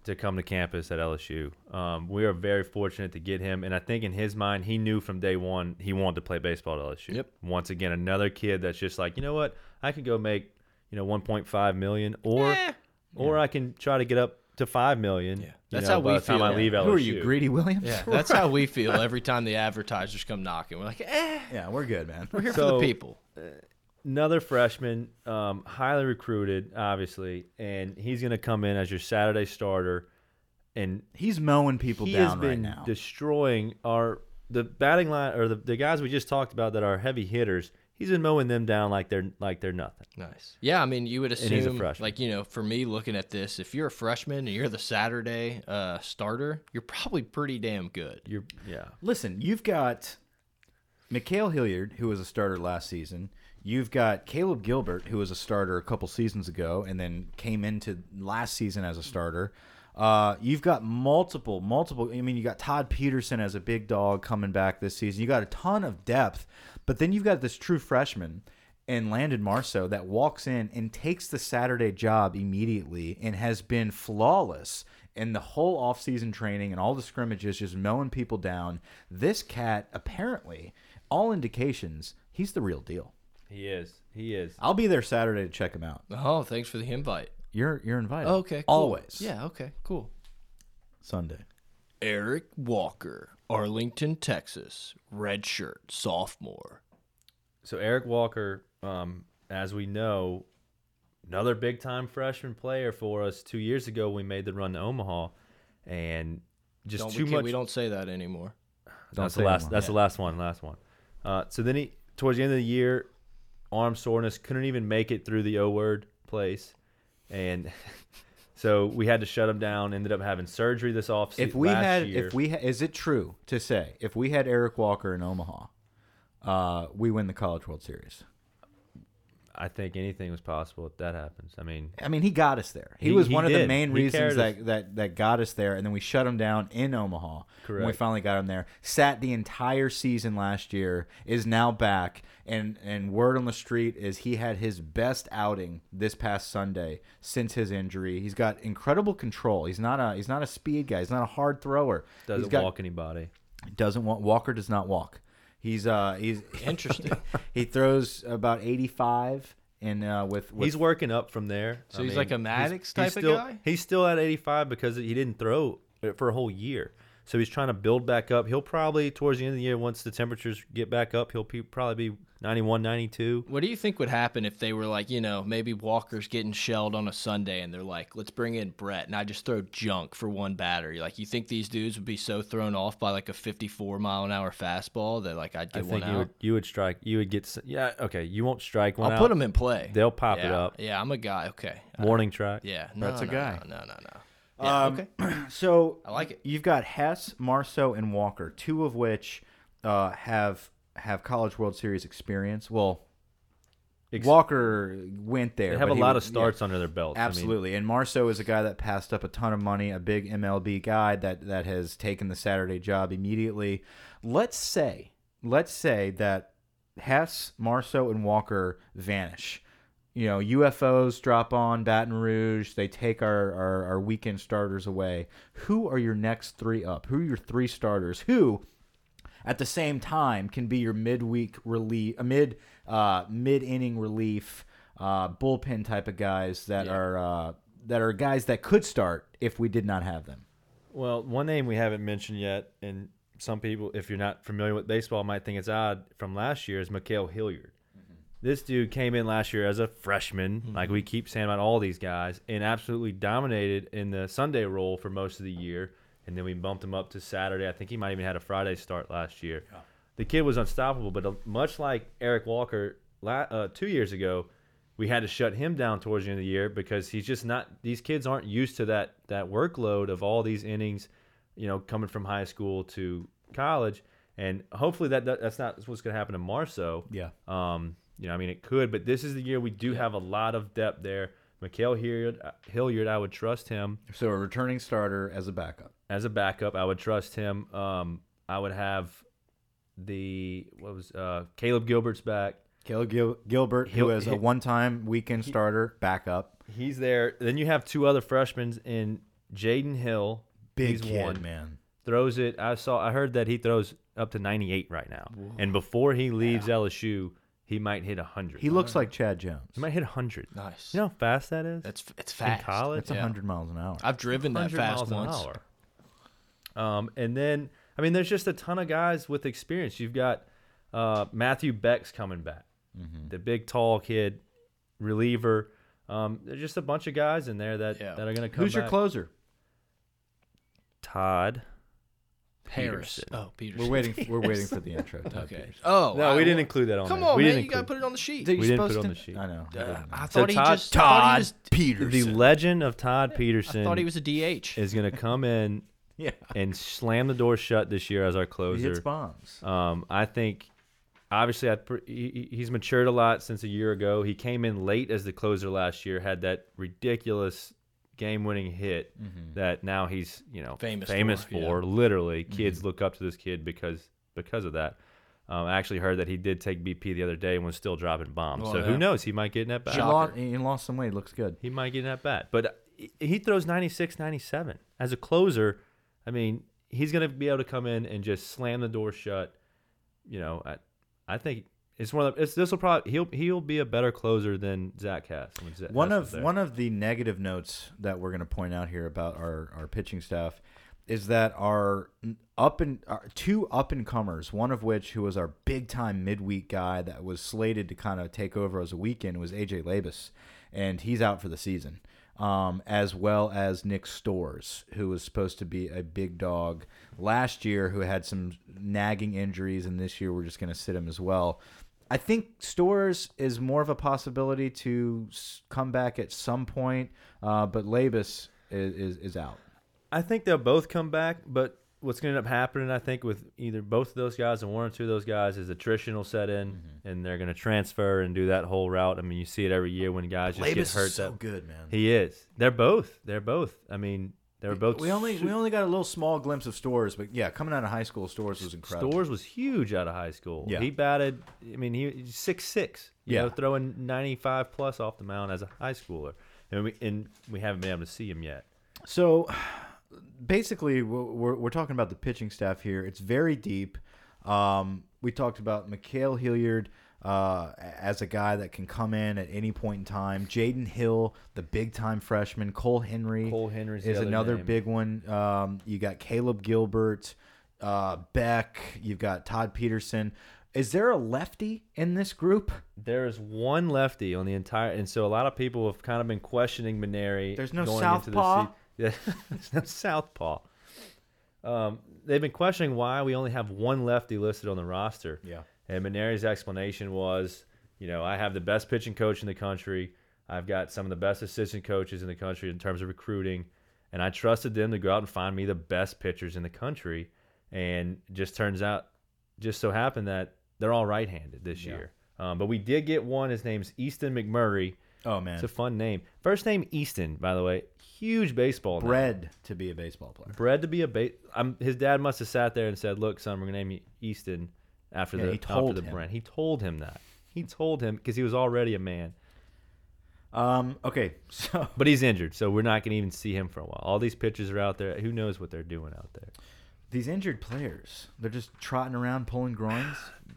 Speaker 4: to come to campus at LSU. Um, we are very fortunate to get him, and I think in his mind, he knew from day one he wanted to play baseball at LSU.
Speaker 2: Yep.
Speaker 4: Once again, another kid that's just like, you know what, I can go make you know 1.5 million, or or I can try to get up to five million. you
Speaker 2: That's
Speaker 4: know,
Speaker 2: how
Speaker 4: by
Speaker 2: we
Speaker 4: the time
Speaker 2: feel.
Speaker 4: I leave LSU.
Speaker 3: who are you, Greedy Williams?
Speaker 2: Yeah, that's how we feel every time the advertisers come knocking. We're like, eh,
Speaker 3: yeah, we're good, man.
Speaker 2: we're here for
Speaker 4: So-
Speaker 2: the people.
Speaker 4: another freshman, um, highly recruited, obviously, and he's going to come in as your Saturday starter, and
Speaker 3: He's mowing people
Speaker 4: he
Speaker 3: down
Speaker 4: has been
Speaker 3: right now.
Speaker 4: destroying our the batting line or the, the guys we just talked about that are heavy hitters, he's been mowing them down like they're like they're nothing.
Speaker 2: Nice. Yeah, I mean, you would
Speaker 4: he's a
Speaker 2: assume,
Speaker 4: freshman.
Speaker 2: like, you know, for me looking at this, if you're a freshman and you're the Saturday uh, starter, you're probably pretty damn good.
Speaker 4: You're yeah.
Speaker 3: Listen, you've got Mikhail Hilliard, who was a starter last season. You've got Caleb Gilbert, who was a starter a couple seasons ago and then came into last season as a starter. Uh, you've got multiple, multiple. I mean, you got Todd Peterson as a big dog coming back this season. You got a ton of depth, but then you've got this true freshman and Landon Marceau that walks in and takes the Saturday job immediately and has been flawless in the whole offseason training and all the scrimmages, just mowing people down. This cat, apparently, all indications, he's the real deal.
Speaker 4: He is. He is.
Speaker 3: I'll be there Saturday to check him out.
Speaker 2: Oh, thanks for the invite.
Speaker 3: You're you're invited.
Speaker 2: Oh, Okay. Cool.
Speaker 3: Always.
Speaker 2: Yeah, okay. Cool.
Speaker 3: Sunday.
Speaker 2: Eric Walker, Arlington, Texas, redshirt sophomore.
Speaker 4: So Eric Walker, um, as we know, another big time freshman player for us. Two years ago, we made the run to Omaha, and just
Speaker 2: Don't, we,
Speaker 4: too
Speaker 2: can't-
Speaker 4: much.
Speaker 2: we don't say that anymore.
Speaker 3: Don't
Speaker 4: that's
Speaker 3: say
Speaker 4: the last.
Speaker 3: anymore.
Speaker 4: That's the last one. Last one. Uh, so then he towards the end of the year, arm soreness, couldn't even make it through the O word place, and so we had to shut him down. Ended up having surgery this offseason.
Speaker 3: If we
Speaker 4: last
Speaker 3: had,
Speaker 4: year.
Speaker 3: if we ha is it true to say if we had Eric Walker in Omaha, uh, we win the College World Series?
Speaker 4: I think anything was possible if that happens. I mean,
Speaker 3: I mean, he got us there. He,
Speaker 4: He-
Speaker 3: was
Speaker 4: he
Speaker 3: one of the
Speaker 4: did.
Speaker 3: main
Speaker 4: He
Speaker 3: reasons
Speaker 4: carried us.
Speaker 3: that, that that got us there, and then we shut him down in Omaha. When we
Speaker 4: Correct.
Speaker 3: finally got him there, sat the entire season last year, is now back, and and word on the street is he had his best outing this past Sunday since his injury. He's got incredible control. He's not a he's not a speed guy. He's not a hard thrower.
Speaker 4: doesn't
Speaker 3: He's got-
Speaker 4: walk anybody.
Speaker 3: Doesn't want Walker does not walk. He's uh he's
Speaker 2: Interesting.
Speaker 3: he throws about eighty five. And uh, with, with
Speaker 4: He's working up from there.
Speaker 2: So he's like a Maddox
Speaker 4: he's
Speaker 2: type of
Speaker 4: still,
Speaker 2: guy?
Speaker 4: He's still at 85 because he didn't throw it for a whole year. So he's trying to build back up. He'll probably towards the end of the year, once the temperatures get back up, he'll pe- probably be 91, 92.
Speaker 2: What do you think would happen if they were like, you know, maybe Walker's getting shelled on a Sunday and they're like, let's bring in Brett and I just throw junk for one batter? Like, you think these dudes would be so thrown off by like a 54 mile an hour fastball that like I'd
Speaker 4: I
Speaker 2: get one
Speaker 4: think you
Speaker 2: out?
Speaker 4: would, you would strike. You would get. s- Yeah. Okay. You won't strike one
Speaker 2: I'll
Speaker 4: out.
Speaker 2: put them in play.
Speaker 4: They'll pop it
Speaker 2: Yeah,
Speaker 4: up.
Speaker 2: Yeah, I'm a guy. Okay.
Speaker 4: Warning track.
Speaker 2: Yeah. No,
Speaker 3: Brett's a
Speaker 2: no,
Speaker 3: guy.
Speaker 2: No, no, no, no. Um, Yeah, okay.
Speaker 3: Um, So
Speaker 2: I like it.
Speaker 3: You've got Hess, Marceau, and Walker, two of which uh, have have college World Series experience. Well,
Speaker 4: Ex-
Speaker 3: Walker went there.
Speaker 4: They have
Speaker 3: but
Speaker 4: a
Speaker 3: he
Speaker 4: lot of
Speaker 3: was-
Speaker 4: starts
Speaker 3: yeah,
Speaker 4: under their belt.
Speaker 3: absolutely. and Marceau is a guy that passed up a ton of money, a big MLB guy that that has taken the Saturday job immediately. Let's say, let's say that Hess, Marceau, and Walker vanish. You know, UFOs drop on Baton Rouge. They take our, our, our weekend starters away. Who are your next three up? Who are your three starters? Who, at the same time, can be your midweek relief, uh, mid uh, mid inning relief, uh, bullpen type of guys that are uh, that are guys that could start if we did not have them.
Speaker 4: Well, one name we haven't mentioned yet, and some people, if you're not familiar with baseball, might think it's odd from last year, is Mikhail Hilliard. This dude came in last year as a freshman, like we keep saying about all these guys, and absolutely dominated in the Sunday role for most of the year. And then we bumped him up to Saturday. I think he might even had a Friday start last year. The kid was unstoppable, but uh, much like Eric Walker la uh, two years ago, we had to shut him down towards the end of the year because he's just not. These kids aren't used to that that workload of all these innings, you know, coming from high school to college. And hopefully that, that that's not what's going to happen to Marceau.
Speaker 3: Yeah.
Speaker 4: Um, you know, I mean, it could, but this is the year we do have a lot of depth there. Mikhail Hilliard, Hilliard, I would trust him
Speaker 3: So a returning starter as a backup.
Speaker 4: as a backup. I would trust him. Um, I would have the what was uh, Caleb Gilbert's back.
Speaker 3: Caleb Gil- Gilbert, who
Speaker 4: He'll-
Speaker 3: is a
Speaker 4: he-
Speaker 3: one-time weekend starter, backup.
Speaker 4: He's there. Then you have two other freshmen in Jaden Hill.
Speaker 3: Big
Speaker 4: He's
Speaker 3: kid,
Speaker 4: one.
Speaker 3: man.
Speaker 4: Throws it. I saw. I heard that he throws up to 98 right now. And before he leaves LSU, he might hit 100.
Speaker 3: He looks like Chad Jones.
Speaker 4: He might hit 100.
Speaker 2: Nice.
Speaker 4: You know how fast that is?
Speaker 2: That's it's fast.
Speaker 4: in college.
Speaker 3: It's a 100 miles an hour.
Speaker 2: I've driven that
Speaker 4: 100
Speaker 2: fast
Speaker 4: miles an
Speaker 2: once.
Speaker 4: hour. Um, and then I mean, there's just a ton of guys with experience. You've got uh, Matthew Beck's coming back,
Speaker 2: Mm-hmm.
Speaker 4: the big tall kid reliever. Um, there's just a bunch of guys in there that
Speaker 2: Yeah.
Speaker 4: that are going to come.
Speaker 3: Who's your
Speaker 4: back.
Speaker 3: closer?
Speaker 4: Todd
Speaker 2: Harris.
Speaker 4: Peterson.
Speaker 2: Oh, Peterson.
Speaker 3: We're waiting. We're waiting for the intro. Todd
Speaker 2: Okay.
Speaker 3: Peterson.
Speaker 2: Oh,
Speaker 4: No,
Speaker 2: I-
Speaker 4: we didn't include that on.
Speaker 2: Come
Speaker 4: there.
Speaker 2: on,
Speaker 4: we
Speaker 2: man.
Speaker 4: didn't
Speaker 2: You gotta
Speaker 4: include-
Speaker 2: put it on the sheet.
Speaker 3: Dude, you're
Speaker 4: We didn't
Speaker 3: supposed
Speaker 4: put it on
Speaker 3: to-
Speaker 4: the sheet.
Speaker 3: I know. I
Speaker 2: Uh,
Speaker 3: didn't.
Speaker 2: I
Speaker 4: So
Speaker 2: thought he
Speaker 4: Todd-
Speaker 2: just. I thought he was-
Speaker 4: the
Speaker 3: Peterson.
Speaker 4: legend of Todd
Speaker 2: I
Speaker 4: Peterson
Speaker 2: thought he was a DH.
Speaker 4: is going to come in
Speaker 3: yeah,
Speaker 4: and slam the door shut this year as our
Speaker 3: he hits
Speaker 4: closer.
Speaker 3: bombs.
Speaker 4: Um, I think obviously I, pr- he, he- he's matured a lot since a year ago. He came in late as the closer last year, had that ridiculous game-winning hit that now he's you know
Speaker 2: Mm-hmm. Famous for, yeah. Mm-hmm.
Speaker 4: for. Literally, kids look up to this kid because because of that. Um, I actually heard that he did take BP the other day and was still dropping bombs.
Speaker 2: Well,
Speaker 4: so
Speaker 2: yeah.
Speaker 4: who knows? He might get in that bat.
Speaker 3: He lost, he lost some weight. Looks good.
Speaker 4: He might get in that bat. But uh, he- he throws 96, 97. As a closer, I mean, he's going to be able to come in and just slam the door shut. You know, I, I think it's one of the, it's, this will probably he'll he'll be a better closer than Zach Cass. when Zach
Speaker 3: One
Speaker 4: Cass
Speaker 3: of
Speaker 4: was there.
Speaker 3: one of the negative notes that we're going to point out here about our, our pitching staff is that our up and our two up and comers, one of which who was our big time midweek guy that was slated to kind of take over as a weekend was AJ Labus, and he's out for the season, um, as well as Nick Stores, who was supposed to be a big dog last year, who had some nagging injuries, and this year we're just going to sit him as well. I think Stores is more of a possibility to s- come back at some point, uh, but Labus is, is, is out.
Speaker 4: I think they'll both come back, but what's going to end up happening, I think, with either both of those guys and one or two of those guys is attrition will set in,
Speaker 3: Mm-hmm.
Speaker 4: and they're going to transfer and do that whole route. I mean, you see it every year when guys just get hurt. that,
Speaker 3: good, man.
Speaker 4: He is. They're both. They're both. I mean, they were both.
Speaker 3: we only
Speaker 4: su-
Speaker 3: we only got a little small glimpse of Stores, but yeah, coming out of high school, Stores was incredible.
Speaker 4: Stores was huge out of high school.
Speaker 3: Yeah.
Speaker 4: He batted. I mean, he he's six six. You
Speaker 3: Yeah.
Speaker 4: know, throwing ninety five plus off the mound as a high schooler, and we and we haven't been able to see him yet.
Speaker 3: So basically, we're, we're- we're talking about the pitching staff here. It's very deep. Um, we talked about Mikhail Hilliard uh, as a guy that can come in at any point in time. Jaden Hill, the big time freshman. Cole Henry.
Speaker 4: Cole Henry's the
Speaker 3: is
Speaker 4: other
Speaker 3: another
Speaker 4: name.
Speaker 3: big one. Um, you got Caleb Gilbert, uh, Beck. You've got Todd Peterson. Is there a lefty in this group?
Speaker 4: There is one lefty on the entire, and so a lot of people have kind of been questioning Maneri.
Speaker 3: There's no
Speaker 4: going into the
Speaker 3: southpaw?
Speaker 4: se- Yeah, there's no southpaw. Um, they've been questioning why we only have one lefty listed on the roster.
Speaker 3: Yeah.
Speaker 4: And Maneri's explanation was, you know, I have the best pitching coach in the country. I've got some of the best assistant coaches in the country in terms of recruiting, and I trusted them to go out and find me the best pitchers in the country. And it just turns out, just so happened that they're all right-handed this year. Um, but we did get one. His name's Easton McMurray.
Speaker 3: Oh man,
Speaker 4: It's a fun name. First name Easton, by the way. Huge baseball. name.
Speaker 3: bred to be a baseball player.
Speaker 4: Bred to be a base. I'm, his dad must have sat there and said, "Look, son, we're gonna name you Easton after
Speaker 3: Yeah,
Speaker 4: the
Speaker 3: he told
Speaker 4: after the
Speaker 3: him.
Speaker 4: brand." He told him that. He told him because he was already a man,
Speaker 3: Um, okay, so
Speaker 4: but he's injured, so we're not gonna even see him for a while. All these pitchers are out there. Who knows what they're doing out there?
Speaker 3: These injured players, they're just trotting around pulling groins.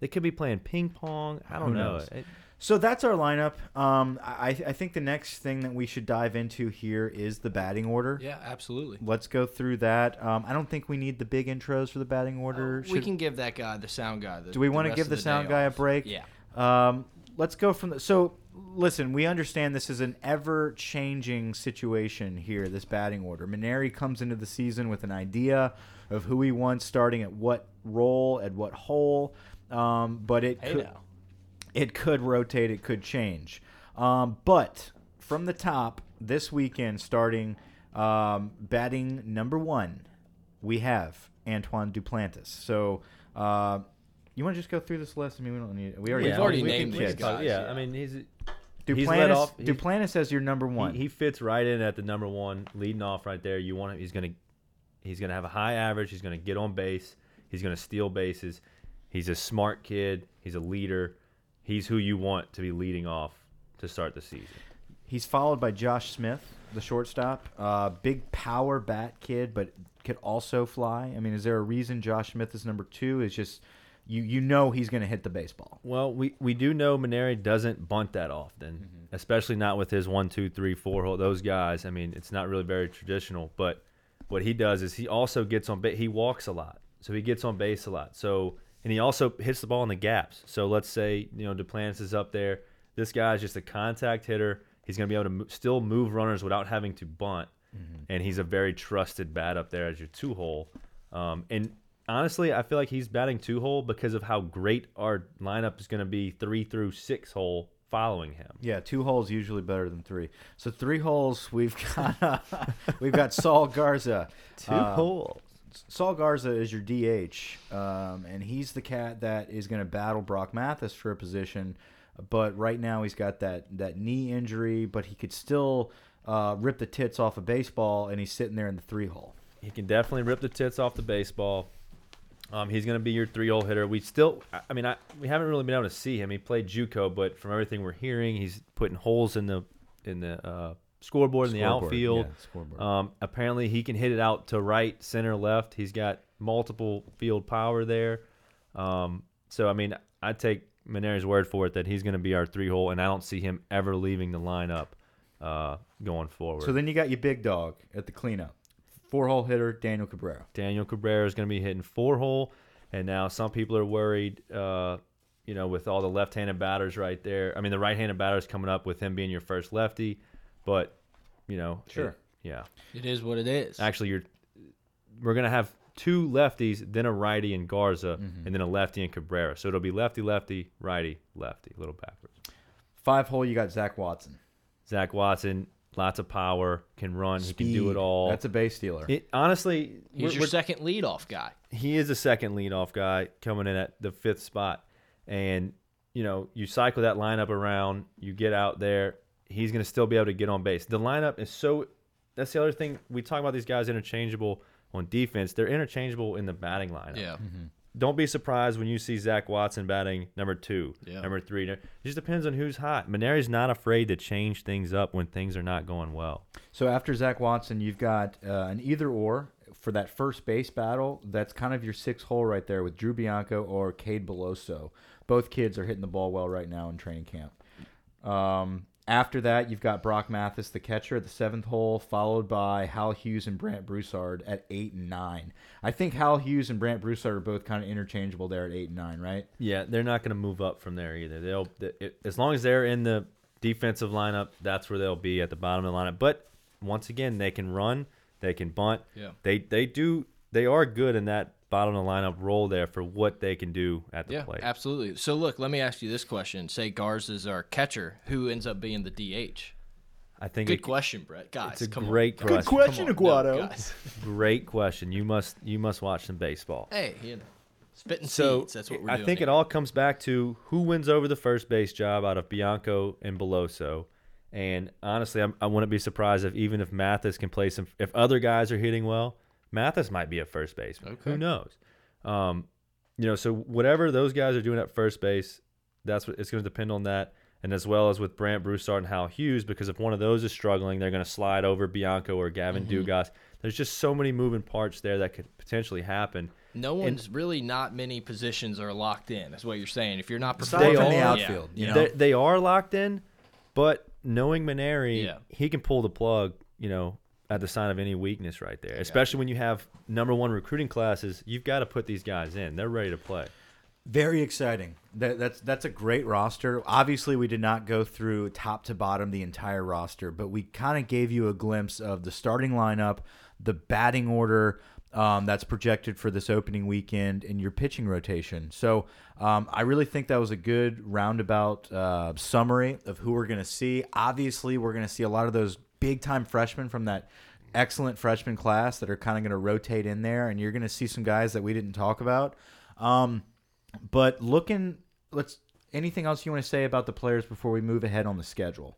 Speaker 4: They could be playing ping pong. I don't
Speaker 3: Who
Speaker 4: know.
Speaker 3: knows?
Speaker 4: It-
Speaker 3: So that's our lineup. Um, I, I think the next thing that we should dive into here is the batting order.
Speaker 2: yeah, absolutely.
Speaker 3: Let's go through that. Um, I don't think we need the big intros for the batting order.
Speaker 2: we
Speaker 3: Should-
Speaker 2: can give that guy, the sound guy. The,
Speaker 3: do we want to give the, sound guy a break?
Speaker 2: Yeah.
Speaker 3: Um, let's go from the. So listen, we understand this is an ever-changing situation here. This batting order. Maneri comes into the season with an idea of who he wants starting at what role at what hole. Um, but it
Speaker 2: Hey
Speaker 3: could,
Speaker 2: now.
Speaker 3: it could rotate, it could change. Um, but from the top, this weekend, starting um, batting number one, we have Antoine Duplantis. So uh, you want to just go through this list? I mean, we don't need. We already
Speaker 2: We've already
Speaker 3: we can
Speaker 2: named
Speaker 4: we
Speaker 2: these
Speaker 3: kick.
Speaker 4: can talk-
Speaker 2: guys,
Speaker 4: Yeah,
Speaker 2: yeah.
Speaker 4: I mean he's he's led
Speaker 3: Duplantis,
Speaker 4: off- he's-
Speaker 3: Duplantis as your number one.
Speaker 4: he, he fits right in at the number one leading off right there. You want him? He's gonna he's gonna have a high average. He's gonna get on base. He's gonna steal bases. He's a smart kid. He's a leader. He's who you want to be leading off to start the season.
Speaker 3: He's followed by Josh Smith, the shortstop. Uh, big power bat kid, but could also fly. I mean, is there a reason Josh Smith is number two? It's just you you know he's going to hit the baseball.
Speaker 4: Well, we, we do know Maneri doesn't bunt that often, especially not with his one, two, three, four hole. Those guys, I mean, it's not really very traditional. But what he does is he also gets on base. He walks a lot, so he gets on base a lot. So and he also hits the ball in the gaps. So let's say you know Duplantis is up there. This guy's just a contact hitter. He's going to be able to mo- still move runners without having to bunt, and he's a very trusted bat up there as your two hole. Um, and honestly, I feel like he's batting two hole because of how great our lineup is going to be three through six hole following him.
Speaker 3: Yeah, two holes usually better than three. So three holes we've got uh, we've got Saul Garza.
Speaker 4: Two
Speaker 3: Um,
Speaker 4: holes.
Speaker 3: Saul Garza is your DH, um, and he's the cat that is going to battle Brock Mathis for a position. But right now he's got that that knee injury, but he could still uh, rip the tits off a baseball, and he's sitting there in the three hole.
Speaker 4: He can definitely rip the tits off the baseball. Um, he's going to be your three hole hitter. We still, I- I mean, I, we haven't really been able to see him. He played JUCO, but from everything we're hearing, he's putting holes in the in the uh, scoreboard in the
Speaker 3: Scoreboard,
Speaker 4: outfield.
Speaker 3: yeah, scoreboard.
Speaker 4: Um, apparently, he can hit it out to right, center, left. He's got multiple field power there. Um, so, I mean, I take Maneri's word for it that he's going to be our three hole, and I don't see him ever leaving the lineup uh, going forward.
Speaker 3: So then you got your big dog at the cleanup, four hole hitter Daniel Cabrera.
Speaker 4: Daniel Cabrera is going to be hitting four hole, and now some people are worried, uh, you know, with all the left-handed batters right there. I mean, the right-handed batters coming up with him being your first lefty, but you know,
Speaker 3: Sure.
Speaker 4: it- yeah,
Speaker 2: It is what it is.
Speaker 4: actually, you're we're going to have two lefties, then a righty and Garza, and then a lefty and Cabrera. So it'll be lefty, lefty, righty, lefty, a little backwards.
Speaker 3: Five hole you got Zach Watson.
Speaker 4: Zach Watson, lots of power, can run, he can do
Speaker 3: Speed.
Speaker 4: it all.
Speaker 3: That's a base stealer.
Speaker 4: It- honestly,
Speaker 2: He's
Speaker 4: we're-
Speaker 2: your
Speaker 4: we're-
Speaker 2: second leadoff guy.
Speaker 4: he is a second leadoff guy coming in at the fifth spot. And, you know, you cycle that lineup around, you get out there, he's going to still be able to get on base. The lineup is so that's the other thing we talk about these guys interchangeable on defense. They're interchangeable in the batting lineup.
Speaker 2: Yeah.
Speaker 4: Don't be surprised when you see Zach Watson batting number two,
Speaker 2: Yeah.
Speaker 4: number three. It just depends on who's hot. Maneri's not afraid to change things up when things are not going well.
Speaker 3: So after Zach Watson, you've got uh, an either or for that first base battle. That's kind of your six hole right there with Drew Bianco or Cade Beloso. Both kids are hitting the ball well right now in training camp. Um, after that, you've got Brock Mathis, the catcher, at the seventh hole, followed by Hal Hughes and Brant Broussard at eight and nine. I think Hal Hughes and Brant Broussard are both kind of interchangeable there at eight and nine, right?
Speaker 4: Yeah, they're not going to move up from there either. They'll th- it, as long as they're in the defensive lineup, that's where they'll be at the bottom of the lineup. But once again, they can run, they can bunt.
Speaker 2: Yeah.
Speaker 4: They they do they are good in that bottom of the lineup role there for what they can do at the
Speaker 2: Yeah,
Speaker 4: plate.
Speaker 2: absolutely. So look, let me ask you this question. Say Garza's our catcher, who ends up being the DH?
Speaker 4: I think
Speaker 2: Good
Speaker 4: it-
Speaker 2: question, Brett. Guys,
Speaker 4: It's a
Speaker 2: come on.
Speaker 4: great
Speaker 2: Guys,
Speaker 4: question.
Speaker 2: come
Speaker 1: question,
Speaker 2: on. No,
Speaker 1: Aguado.
Speaker 2: guys.
Speaker 4: great question. You must you must watch some baseball.
Speaker 2: Hey, you know, spitting
Speaker 4: So
Speaker 2: seeds. That's what we're
Speaker 4: I
Speaker 2: doing.
Speaker 4: think
Speaker 2: here.
Speaker 4: it all comes back to who wins over the first base job out of Bianco and Beloso. And honestly, I'm, I wouldn't be surprised if even if Mathis can play some, if other guys are hitting well, Mathis might be a first baseman. Who knows? Um, you know, so whatever those guys are doing at first base, that's what it's going to depend on that. And as well as with Brant Broussard and Hal Hughes, because if one of those is struggling, they're going to slide over Bianco or Gavin
Speaker 2: Mm-hmm.
Speaker 4: Dugas. There's just so many moving parts there that could potentially happen.
Speaker 2: No one's really not many positions are locked in. That's what you're saying. If you're not
Speaker 3: They
Speaker 2: performing,
Speaker 4: They
Speaker 3: in the
Speaker 4: are-
Speaker 3: outfield, you know.
Speaker 4: they they are locked in, but knowing Maneri,
Speaker 2: Yeah.
Speaker 4: he can pull the plug, you know, at the sign of any weakness right there. Especially when you have number one recruiting classes, you've got to put these guys in. They're ready to play.
Speaker 3: Very exciting. That, that's that's a great roster. Obviously, we did not go through top to bottom the entire roster, but we kind of gave you a glimpse of the starting lineup, the batting order um, that's projected for this opening weekend, and your pitching rotation. So um, I really think that was a good roundabout uh, summary of who we're going to see. Obviously, we're going to see a lot of those big time freshmen from that excellent freshman class that are kind of going to rotate in there, and you're going to see some guys that we didn't talk about. Um, but looking, let's. Anything else you want to say about the players before we move ahead on the schedule?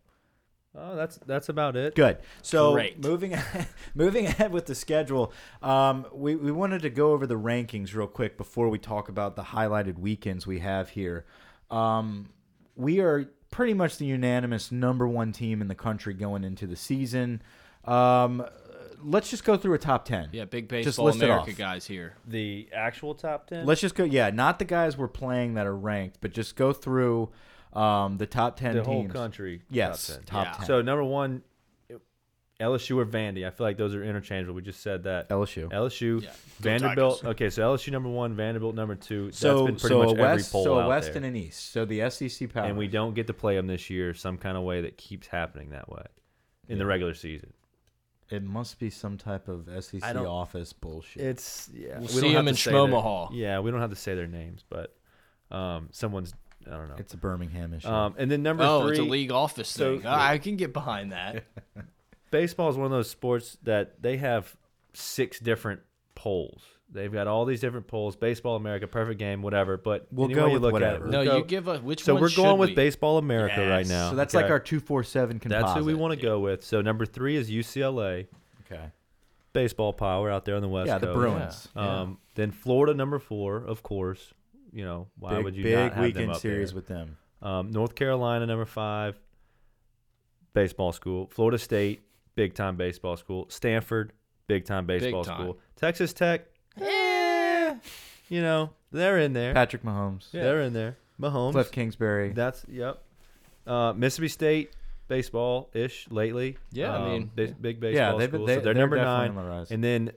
Speaker 4: Oh, that's that's about it.
Speaker 3: Good. So
Speaker 2: Great.
Speaker 3: moving moving ahead with the schedule, um, we we wanted to go over the rankings real quick before we talk about the highlighted weekends we have here. Um, we are pretty much the unanimous number one team in the country going into the season. Um, let's just go through a top ten.
Speaker 2: yeah, big
Speaker 3: Just
Speaker 2: baseball
Speaker 3: list it
Speaker 2: America
Speaker 3: off.
Speaker 2: guys here.
Speaker 4: The actual top ten.
Speaker 3: Let's just go. Yeah, not the guys we're playing that are ranked, but just go through um, the top ten
Speaker 4: the
Speaker 3: teams.
Speaker 4: whole country.
Speaker 3: Yes,
Speaker 4: top 10.
Speaker 3: top
Speaker 2: Yeah.
Speaker 3: 10.
Speaker 4: So number one, LSU or Vandy. I feel like those are interchangeable. We just said that.
Speaker 3: LSU.
Speaker 4: LSU,
Speaker 2: Yeah. Go
Speaker 4: Vanderbilt. Okay, so LSU number one, Vanderbilt number two.
Speaker 3: so
Speaker 4: that's been pretty
Speaker 3: so
Speaker 4: much
Speaker 3: a
Speaker 4: every
Speaker 3: west,
Speaker 4: poll
Speaker 3: so a
Speaker 4: out
Speaker 3: west
Speaker 4: there.
Speaker 3: and an east. So the SEC power.
Speaker 4: and we don't get to play them this year some kind of way that keeps happening that way in the regular season.
Speaker 3: It must be some type of SEC
Speaker 4: I don't-
Speaker 3: office bullshit.
Speaker 4: It's yeah.
Speaker 2: We'll
Speaker 4: we
Speaker 2: see
Speaker 4: don't have
Speaker 2: him
Speaker 4: to
Speaker 2: in
Speaker 4: say their-
Speaker 2: Shmomahaw.
Speaker 4: Yeah, we don't have to say their names, but um, someone's I don't know.
Speaker 3: it's a Birmingham issue.
Speaker 4: um, and then number
Speaker 2: Oh,
Speaker 4: three,
Speaker 2: it's a league office
Speaker 4: So-
Speaker 2: thing. Ah, I can get behind that.
Speaker 4: baseball is one of those sports that they have six different polls. They've got all these different polls: Baseball America, Perfect Game, whatever. But
Speaker 3: We'll
Speaker 4: any
Speaker 3: go
Speaker 4: way you
Speaker 3: with
Speaker 4: look
Speaker 3: whatever.
Speaker 4: At it,
Speaker 2: No,
Speaker 4: we'll go-
Speaker 2: you give us which
Speaker 4: So
Speaker 2: one
Speaker 4: we're going
Speaker 2: should
Speaker 4: with
Speaker 2: we?
Speaker 4: Baseball America right
Speaker 2: Yes.
Speaker 4: now.
Speaker 3: so that's
Speaker 4: okay?
Speaker 3: like our two four seven composite.
Speaker 4: That's who we want to go with. So number three is UCLA,
Speaker 3: Okay.
Speaker 4: baseball power out there on the West
Speaker 3: yeah, the
Speaker 4: Coast.
Speaker 3: Bruins. Yeah.
Speaker 4: Um, Then Florida, number four, of course. You know why
Speaker 3: big
Speaker 4: would you
Speaker 3: big
Speaker 4: not have
Speaker 3: weekend
Speaker 4: them up
Speaker 3: series
Speaker 4: there?
Speaker 3: with them.
Speaker 4: Um, North Carolina, number five, baseball school. Florida State, big time baseball school. Stanford, big time baseball
Speaker 2: time.
Speaker 4: school. Texas Tech, eh, you know, they're in there.
Speaker 3: Patrick Mahomes,
Speaker 4: They're in there. Mahomes.
Speaker 3: Cliff Kingsbury.
Speaker 4: That's, yep. Uh, Mississippi State, baseball ish lately.
Speaker 2: Yeah, I mean,
Speaker 4: big, big baseball
Speaker 3: they've been-
Speaker 4: school.
Speaker 3: they-
Speaker 4: so
Speaker 3: they're
Speaker 4: they're, number
Speaker 3: definitely on
Speaker 4: nine.
Speaker 3: the rise.
Speaker 4: And then,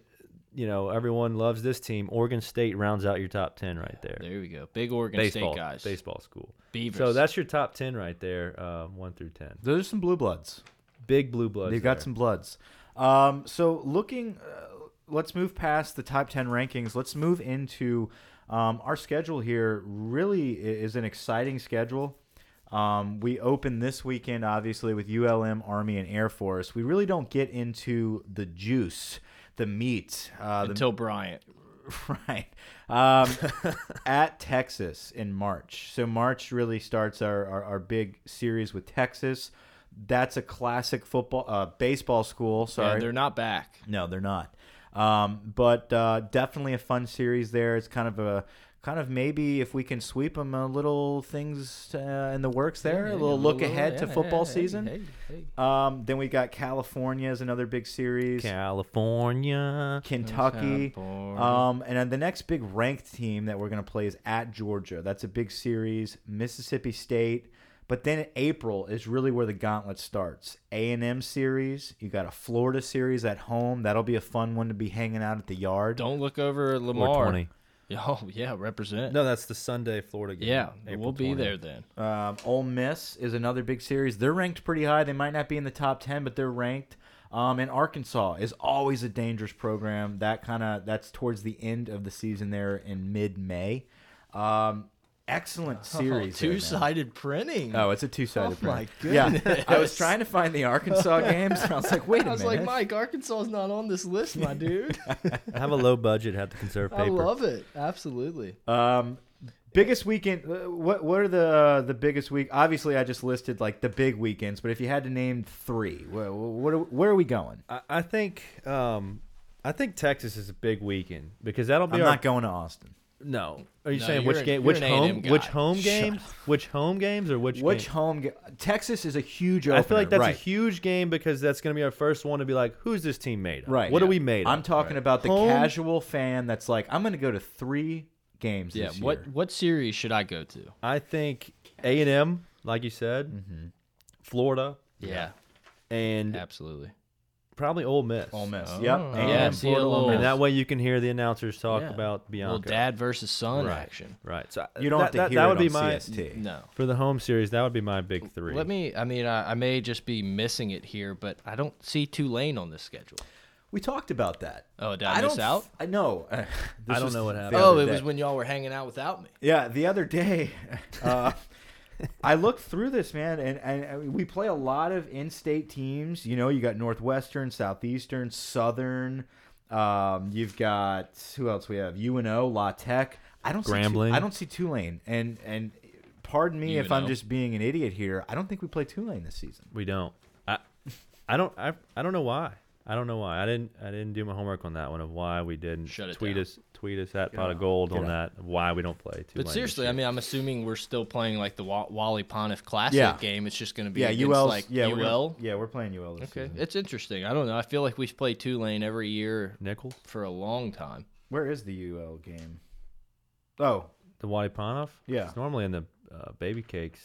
Speaker 4: you know, everyone loves this team. Oregon State rounds out your top 10 right there
Speaker 2: There we go. Big Oregon
Speaker 4: baseball,
Speaker 2: State guys.
Speaker 4: baseball school.
Speaker 2: Beavers.
Speaker 4: So that's your top ten right there, uh, one through ten.
Speaker 3: Those are some blue bloods.
Speaker 4: Big blue bloods.
Speaker 3: They've got
Speaker 4: there.
Speaker 3: some bloods. Um, so looking, uh, let's move past the top ten rankings. Let's move into um, our schedule. Here really i- is an exciting schedule. Um, we open this weekend, obviously, with ULM, Army, and Air Force. We really don't get into the juice, the meat, uh, the
Speaker 2: until Bryant.
Speaker 3: right um, at texas in march so march really starts our, our, our big series with texas that's a classic football uh, baseball school
Speaker 2: Yeah,
Speaker 3: sorry
Speaker 2: they're not back.
Speaker 3: no they're not um, but uh, definitely a fun series there it's kind of a kind of maybe if we can sweep them a little things uh, in the works there a little look ahead to football season Um, then we got california is another big series
Speaker 4: California.
Speaker 3: Kentucky.
Speaker 2: California.
Speaker 3: Um, and then the next big ranked team that we're going to play is at Georgia. That's a big series. Mississippi State. But then April is really where the gauntlet starts. A&M series. You got a Florida series at home. That'll be a fun one to be hanging out at the yard.
Speaker 2: Don't look over at Lamar.
Speaker 4: 20.
Speaker 2: Oh yeah, represent.
Speaker 4: No, that's the Sunday Florida game.
Speaker 2: yeah,
Speaker 4: April
Speaker 2: we'll be
Speaker 4: 20th.
Speaker 2: there then.
Speaker 3: Um, Ole Miss is another big series. They're ranked pretty high. They might not be in the top ten, but they're ranked. Um, and Arkansas is always a dangerous program. That kind of that's towards the end of the season there in mid May. Um, excellent series. there,
Speaker 2: Oh,
Speaker 3: man.
Speaker 2: Two-sided printing.
Speaker 3: Oh, it's a two-sided.
Speaker 2: Oh, my
Speaker 3: print. Yeah,
Speaker 2: goodness.
Speaker 3: I was trying to find the Arkansas games, and I was like, "Wait a
Speaker 2: I was
Speaker 3: minute!"
Speaker 2: like, Mike, Arkansas is not on this list, my dude.
Speaker 4: Have a low budget. Have to conserve paper.
Speaker 2: I love it. Absolutely.
Speaker 3: Um, biggest weekend. uh, What what are the uh, the biggest week? Obviously, I just listed like the big weekends, but if you had to name three, where, what are, where are we going?
Speaker 4: I, I think. Um, I think Texas is a big weekend because that'll be
Speaker 3: I'm
Speaker 4: our
Speaker 3: not going to Austin.
Speaker 4: no. Are you
Speaker 2: No,
Speaker 4: saying
Speaker 2: you're
Speaker 4: which
Speaker 2: an-
Speaker 4: game,
Speaker 2: you're
Speaker 4: which
Speaker 2: an
Speaker 4: home,
Speaker 2: A&M guy.
Speaker 4: which home
Speaker 2: Shut
Speaker 4: games, which home games, or which
Speaker 3: Which
Speaker 4: game?
Speaker 3: home game? Texas is a huge. Opener.
Speaker 4: I feel like that's
Speaker 3: right.
Speaker 4: a huge game because that's going to be our first one to be like, who's this team made of?
Speaker 3: Right.
Speaker 4: What are
Speaker 3: Yeah.
Speaker 4: we made of?
Speaker 3: I'm talking about the
Speaker 4: Home-
Speaker 3: casual fan that's like, I'm going to go to three games.
Speaker 2: Yeah.
Speaker 3: this
Speaker 2: What
Speaker 3: year."
Speaker 2: what series should I go to?
Speaker 4: I think A and M, like you said,
Speaker 3: Mm-hmm.
Speaker 4: Florida,
Speaker 2: Yeah,
Speaker 4: and
Speaker 2: absolutely.
Speaker 4: probably Ole Miss. Um,
Speaker 3: Ole Miss.
Speaker 2: Oh.
Speaker 3: Yep.
Speaker 2: Yeah,
Speaker 3: A&M,
Speaker 2: see a
Speaker 3: Florida, Ole
Speaker 2: little-
Speaker 3: Miss.
Speaker 4: And that way you can hear the announcers talk
Speaker 2: Yeah.
Speaker 4: about Bianca.
Speaker 2: Little dad versus son
Speaker 4: right.
Speaker 2: action.
Speaker 4: Right. So
Speaker 3: you don't
Speaker 4: that,
Speaker 3: have to
Speaker 4: that,
Speaker 3: hear
Speaker 4: that
Speaker 3: it
Speaker 4: would be
Speaker 3: on
Speaker 4: my
Speaker 3: CST.
Speaker 2: No.
Speaker 4: for the home series. That would be my big three.
Speaker 2: Let me. I mean, I, I may just be missing it here, but I don't see Tulane on this schedule.
Speaker 3: We talked about that.
Speaker 2: Oh, did I miss
Speaker 3: don't,
Speaker 2: out?
Speaker 3: I know. I
Speaker 4: don't know what happened.
Speaker 2: Oh, it was when y'all were hanging out without me.
Speaker 3: Yeah, the other day, uh, I looked through this man, and, and and we play a lot of in-state teams. You know, you got Northwestern, Southeastern, Southern. Um, you've got who else? We have UNO, La Tech. I don't See,
Speaker 4: Grambling.
Speaker 3: Tu- I don't see Tulane, and and pardon me if I'm
Speaker 2: UNO.
Speaker 3: just being an idiot here. I don't think we play Tulane this season.
Speaker 4: We don't. I, I don't. I, I don't know why. I don't know why. I didn't. I didn't do my homework on that one of why we didn't
Speaker 2: Shut it
Speaker 4: tweet
Speaker 2: down.
Speaker 4: us. Tweet us at pot of gold on that. Why we don't play. Tulane
Speaker 2: But
Speaker 4: this
Speaker 2: seriously,
Speaker 4: year.
Speaker 2: I mean, I'm assuming we're still playing like the Wa- Wally Pontiff Classic
Speaker 3: Yeah.
Speaker 2: game. It's just going to be
Speaker 3: Yeah,
Speaker 2: against,
Speaker 3: UL.
Speaker 2: like
Speaker 3: yeah, we're
Speaker 2: UL.
Speaker 3: gonna- yeah, we're playing UL this
Speaker 2: Okay,
Speaker 3: season.
Speaker 2: it's interesting. I don't know. I feel like we've played Tulane every year
Speaker 4: Nichols,
Speaker 2: for a long time.
Speaker 3: Where is the UL game? Oh,
Speaker 4: the Wadi Panoff.
Speaker 3: Yeah.
Speaker 4: It's normally in the uh, baby cakes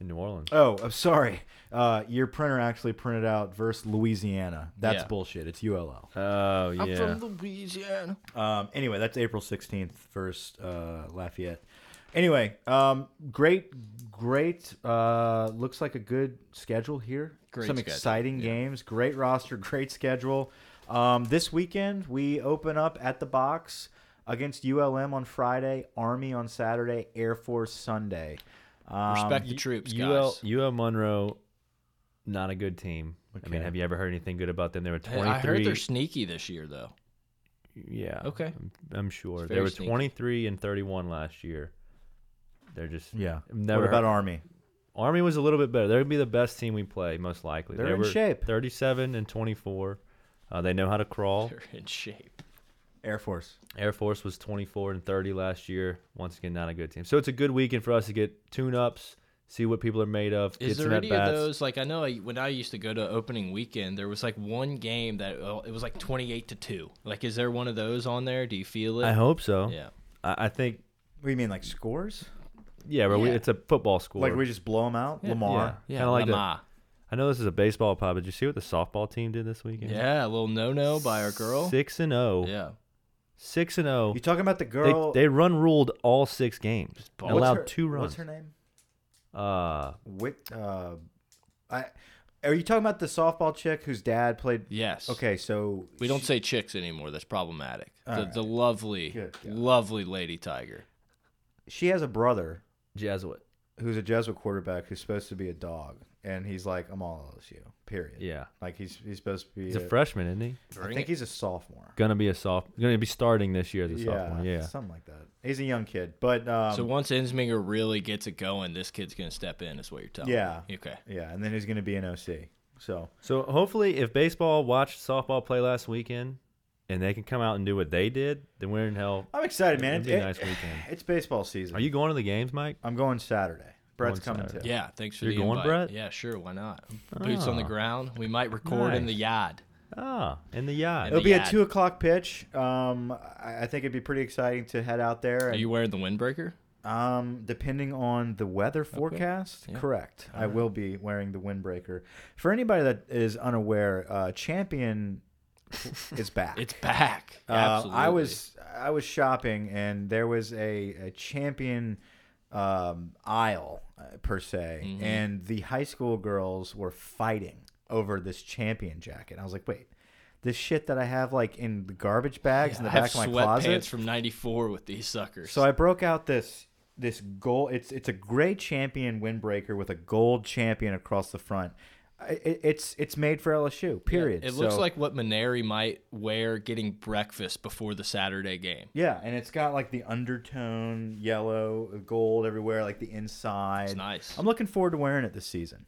Speaker 4: in New Orleans.
Speaker 3: Oh, I'm sorry. Uh, your printer actually printed out verse Louisiana. That's
Speaker 2: Yeah.
Speaker 3: bullshit. It's ULL.
Speaker 4: Oh yeah.
Speaker 2: I'm from Louisiana.
Speaker 3: Um, anyway, that's April 16th verse uh, Lafayette. Anyway, um, great, great. Uh, looks like a good schedule here.
Speaker 2: Great
Speaker 3: Some
Speaker 2: schedule,
Speaker 3: exciting games. Great roster. Great schedule. Um, this weekend we open up at the box against ULM on Friday, Army on Saturday, Air Force Sunday. Um,
Speaker 2: Respect the troops, guys.
Speaker 4: UL, UL Monroe, not a good team. I mean,
Speaker 3: Okay.
Speaker 4: have you ever heard anything good about them? They were
Speaker 2: Hey,
Speaker 4: 23.
Speaker 2: I heard they're sneaky this year, though.
Speaker 4: yeah.
Speaker 2: Okay.
Speaker 4: I'm, I'm sure.
Speaker 2: It's
Speaker 4: They
Speaker 2: very
Speaker 4: were
Speaker 2: sneaky.
Speaker 4: 23 and 31 last year. They're just.
Speaker 3: Yeah.
Speaker 4: I've never
Speaker 3: what about
Speaker 4: heard-
Speaker 3: Army?
Speaker 4: Army was a little bit better. They're gonna be the best team we play, most likely.
Speaker 3: They're
Speaker 4: they
Speaker 3: in
Speaker 4: were
Speaker 3: shape.
Speaker 4: 37 and 24. Uh, they know how to crawl.
Speaker 2: They're in shape.
Speaker 3: Air Force.
Speaker 4: Air Force was 24 and 30 last year. Once again, not a good team. So it's a good weekend for us to get tune ups, see what people are made of.
Speaker 2: Is
Speaker 4: get
Speaker 2: there
Speaker 4: some
Speaker 2: any of
Speaker 4: at-bats.
Speaker 2: those? Like I know I, when I used to go to opening weekend, there was like one game that oh, it was like twenty eight to two. Like, is there one of those on there? Do you feel it?
Speaker 4: I hope so.
Speaker 2: Yeah.
Speaker 4: I, I think.
Speaker 3: What do you mean, like scores?
Speaker 4: Yeah, but we,
Speaker 2: Yeah.
Speaker 4: it's a football school.
Speaker 3: Like we just blow them out? Lamar.
Speaker 4: Yeah, kind of like the,
Speaker 2: Lamar.
Speaker 4: I know this is a baseball pod, but did you see what the softball team did this weekend?
Speaker 2: Yeah, a little no no by our girl.
Speaker 4: Six and zero.
Speaker 2: Yeah.
Speaker 4: Six and zero.
Speaker 3: You talking about the
Speaker 4: They,
Speaker 3: girl?
Speaker 4: they run ruled all six games.
Speaker 2: balls.
Speaker 4: and
Speaker 3: what's
Speaker 4: Allowed
Speaker 3: her-
Speaker 4: two runs.
Speaker 3: What's her name?
Speaker 4: Uh,
Speaker 3: Wit. Uh, I. Are you talking about the softball chick whose dad played?
Speaker 2: Yes.
Speaker 3: Okay, so
Speaker 2: We don't say chicks anymore. That's problematic. The,
Speaker 3: All right.
Speaker 2: the lovely,
Speaker 3: Good God.
Speaker 2: lovely lady tiger.
Speaker 3: she has a brother
Speaker 4: Jesuit.
Speaker 3: who's a Jesuit quarterback who's supposed to be a dog, and he's like, "I'm all LSU." Period.
Speaker 4: Yeah.
Speaker 3: Like he's he's supposed to be.
Speaker 4: He's a freshman, isn't he?
Speaker 3: I think he's a sophomore.
Speaker 4: Gonna be a soft. Gonna be starting this year. as a sophomore. Yeah.
Speaker 3: something like that. He's a young kid, but um,
Speaker 2: So once Ensminger really gets it going, this kid's gonna step in. Is what you're telling.
Speaker 3: Yeah.
Speaker 2: me. Okay.
Speaker 3: yeah, and then he's going to be an OC. So
Speaker 4: So hopefully, if baseball watched softball play last weekend, and they can come out and do what they did, then we're in hell.
Speaker 3: I'm excited, man.
Speaker 4: It'll be a nice weekend.
Speaker 3: It's baseball season.
Speaker 4: Are you going to the games, Mike?
Speaker 3: I'm going Saturday. Brett's
Speaker 4: Going
Speaker 3: coming
Speaker 4: Saturday.
Speaker 3: too.
Speaker 2: Yeah. Thanks for
Speaker 4: You're
Speaker 2: the
Speaker 4: going,
Speaker 2: invite.
Speaker 4: Brett?
Speaker 2: Yeah. Sure. Why not? Boots on the
Speaker 4: Ah.
Speaker 2: ground. We might record in the yard.
Speaker 4: Ah, in the yacht.
Speaker 3: It'll
Speaker 2: the
Speaker 3: be a
Speaker 2: ad.
Speaker 3: two o'clock pitch. Um, I I think it'd be pretty exciting to head out there.
Speaker 2: Are
Speaker 3: And,
Speaker 2: you wearing the windbreaker?
Speaker 3: um, depending on the weather forecast, correct. I will be wearing the windbreaker. For anybody that is unaware, uh, Champion is back.
Speaker 2: It's back.
Speaker 3: Uh,
Speaker 2: Absolutely.
Speaker 3: I was I was shopping and there was a, a champion um, aisle uh, per se,
Speaker 2: Mm-hmm.
Speaker 3: and the high school girls were fighting over this champion jacket. I was like, wait, this shit that I have like in the garbage bags in the
Speaker 2: I have
Speaker 3: back of my closet.
Speaker 2: sweatpants from '94 with these suckers.
Speaker 3: so I broke out this this gold. It's it's a gray champion windbreaker with a gold champion across the front. I- It, it's it's made for LSU. Period.
Speaker 2: It looks
Speaker 3: So-
Speaker 2: like what Maneri might wear getting breakfast before the Saturday game.
Speaker 3: Yeah, and it's got like the undertone yellow, uh, gold everywhere, like the inside.
Speaker 2: It's nice.
Speaker 3: I'm looking forward to wearing it this season.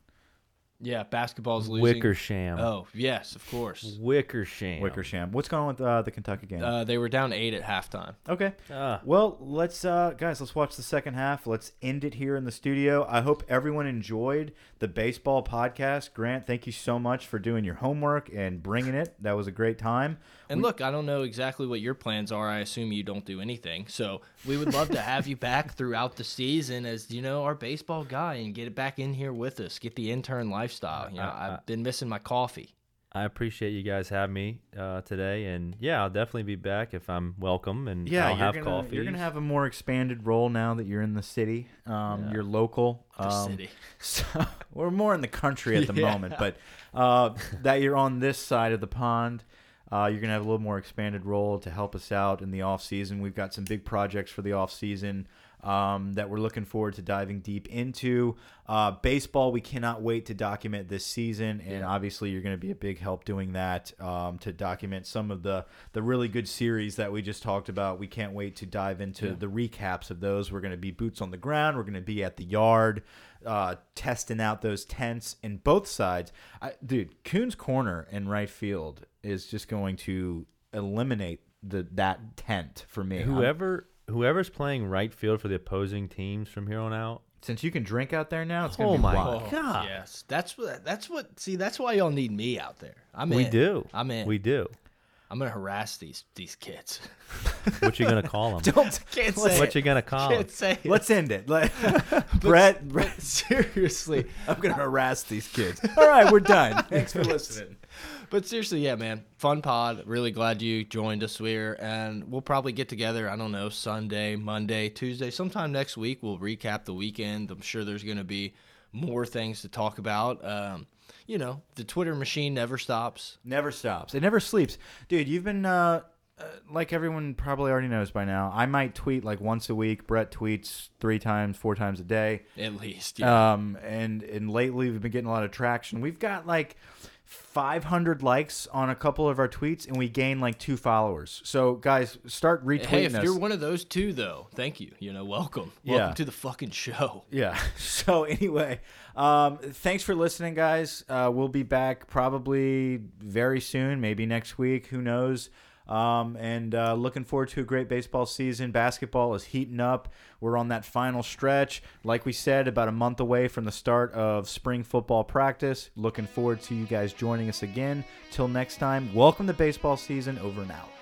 Speaker 2: Yeah, basketball's losing.
Speaker 4: Wickersham.
Speaker 2: Oh, yes, of course.
Speaker 3: Mm-hmm.
Speaker 4: Wickersham.
Speaker 3: Wickersham. What's going on with uh, the Kentucky game?
Speaker 2: Uh, they were down eight at halftime.
Speaker 3: okay.
Speaker 4: Ah.
Speaker 3: well, let's uh, guys, let's watch the second half. Let's end it here in the studio. I hope everyone enjoyed the baseball podcast. Grant, thank you so much for doing your homework and bringing it. That was a great time.
Speaker 2: And look, I don't know exactly what your plans are. I assume you don't do anything. So we would love to have you back throughout the season as you know our baseball guy and get it back in here with us. Get the intern lifestyle. You know, I've been missing my coffee.
Speaker 4: I appreciate you guys having me uh, today, and yeah, I'll definitely be back if I'm welcome, and
Speaker 3: Yeah,
Speaker 4: I'll
Speaker 3: Uh, you're
Speaker 4: have
Speaker 3: gonna,
Speaker 4: coffee.
Speaker 3: You're gonna have a more expanded role now that you're in the city. Um, You're local. um,
Speaker 2: city.
Speaker 3: So we're more in the country at the moment, but uh, that you're on this side of the pond, uh, you're gonna have a little more expanded role to help us out in the off season. We've got some big projects for the off season. Um, that we're looking forward to diving deep into uh, baseball. We cannot wait to document this season, and obviously you're going to be a big help doing that um, to document some of the the really good series that we just talked about. We can't wait to dive into the recaps of those. We're going to be boots on the ground. We're going to be at the yard, uh, testing out those tents in both sides. I, dude, Coon's corner in right field is just going to eliminate the that tent for me. I'm-
Speaker 4: whoever whoever's playing right field for the opposing teams from here on out.
Speaker 3: since you can drink out there now, it's going to
Speaker 4: Oh
Speaker 3: be
Speaker 4: my
Speaker 3: wild.
Speaker 4: god,
Speaker 2: Yes, that's what. That's what. See, that's why y'all need me out there. I'm
Speaker 4: we
Speaker 2: in.
Speaker 4: do.
Speaker 2: I'm in.
Speaker 4: We do.
Speaker 2: I'm gonna harass these these kids.
Speaker 4: What you gonna call them?
Speaker 3: Don't
Speaker 2: Can't
Speaker 3: let's,
Speaker 2: say
Speaker 4: what you gonna call them?
Speaker 2: Can't say it.
Speaker 3: let's end it. Let, Brett, Brett,
Speaker 2: Seriously.
Speaker 3: I'm gonna harass these kids. All right, we're done. Thanks for listening.
Speaker 2: but seriously, yeah, man, fun pod. Really glad you joined us here, and we'll probably get together. I don't know, Sunday, Monday, Tuesday, sometime next week. We'll recap the weekend. I'm sure there's going to be more things to talk about. Um, you know, the Twitter machine never stops.
Speaker 3: Never stops. It never sleeps. Dude, you've been uh, uh, like everyone probably already knows by now. I might tweet like once a week. Brett tweets three times, four times a day.
Speaker 2: At least,
Speaker 4: Uh,
Speaker 2: yeah.
Speaker 3: Um, and and lately we've been getting a lot of traction. We've got like 500 likes on a couple of our tweets, and we gain like two followers. So guys, start retweeting
Speaker 2: Hey, if
Speaker 3: us.
Speaker 2: you're one of those two, though, thank you. You know, welcome. Welcome
Speaker 3: Yeah.
Speaker 2: to the fucking show.
Speaker 3: yeah. So anyway, um, thanks for listening, guys. Uh, we'll be back probably very soon, maybe next week. Who knows? Um, and uh, looking forward to a great baseball season. Basketball is heating up. We're on that final stretch. Like we said, about a month away from the start of spring football practice. Looking forward to you guys joining us again. Till next time, welcome to baseball season. Over and out.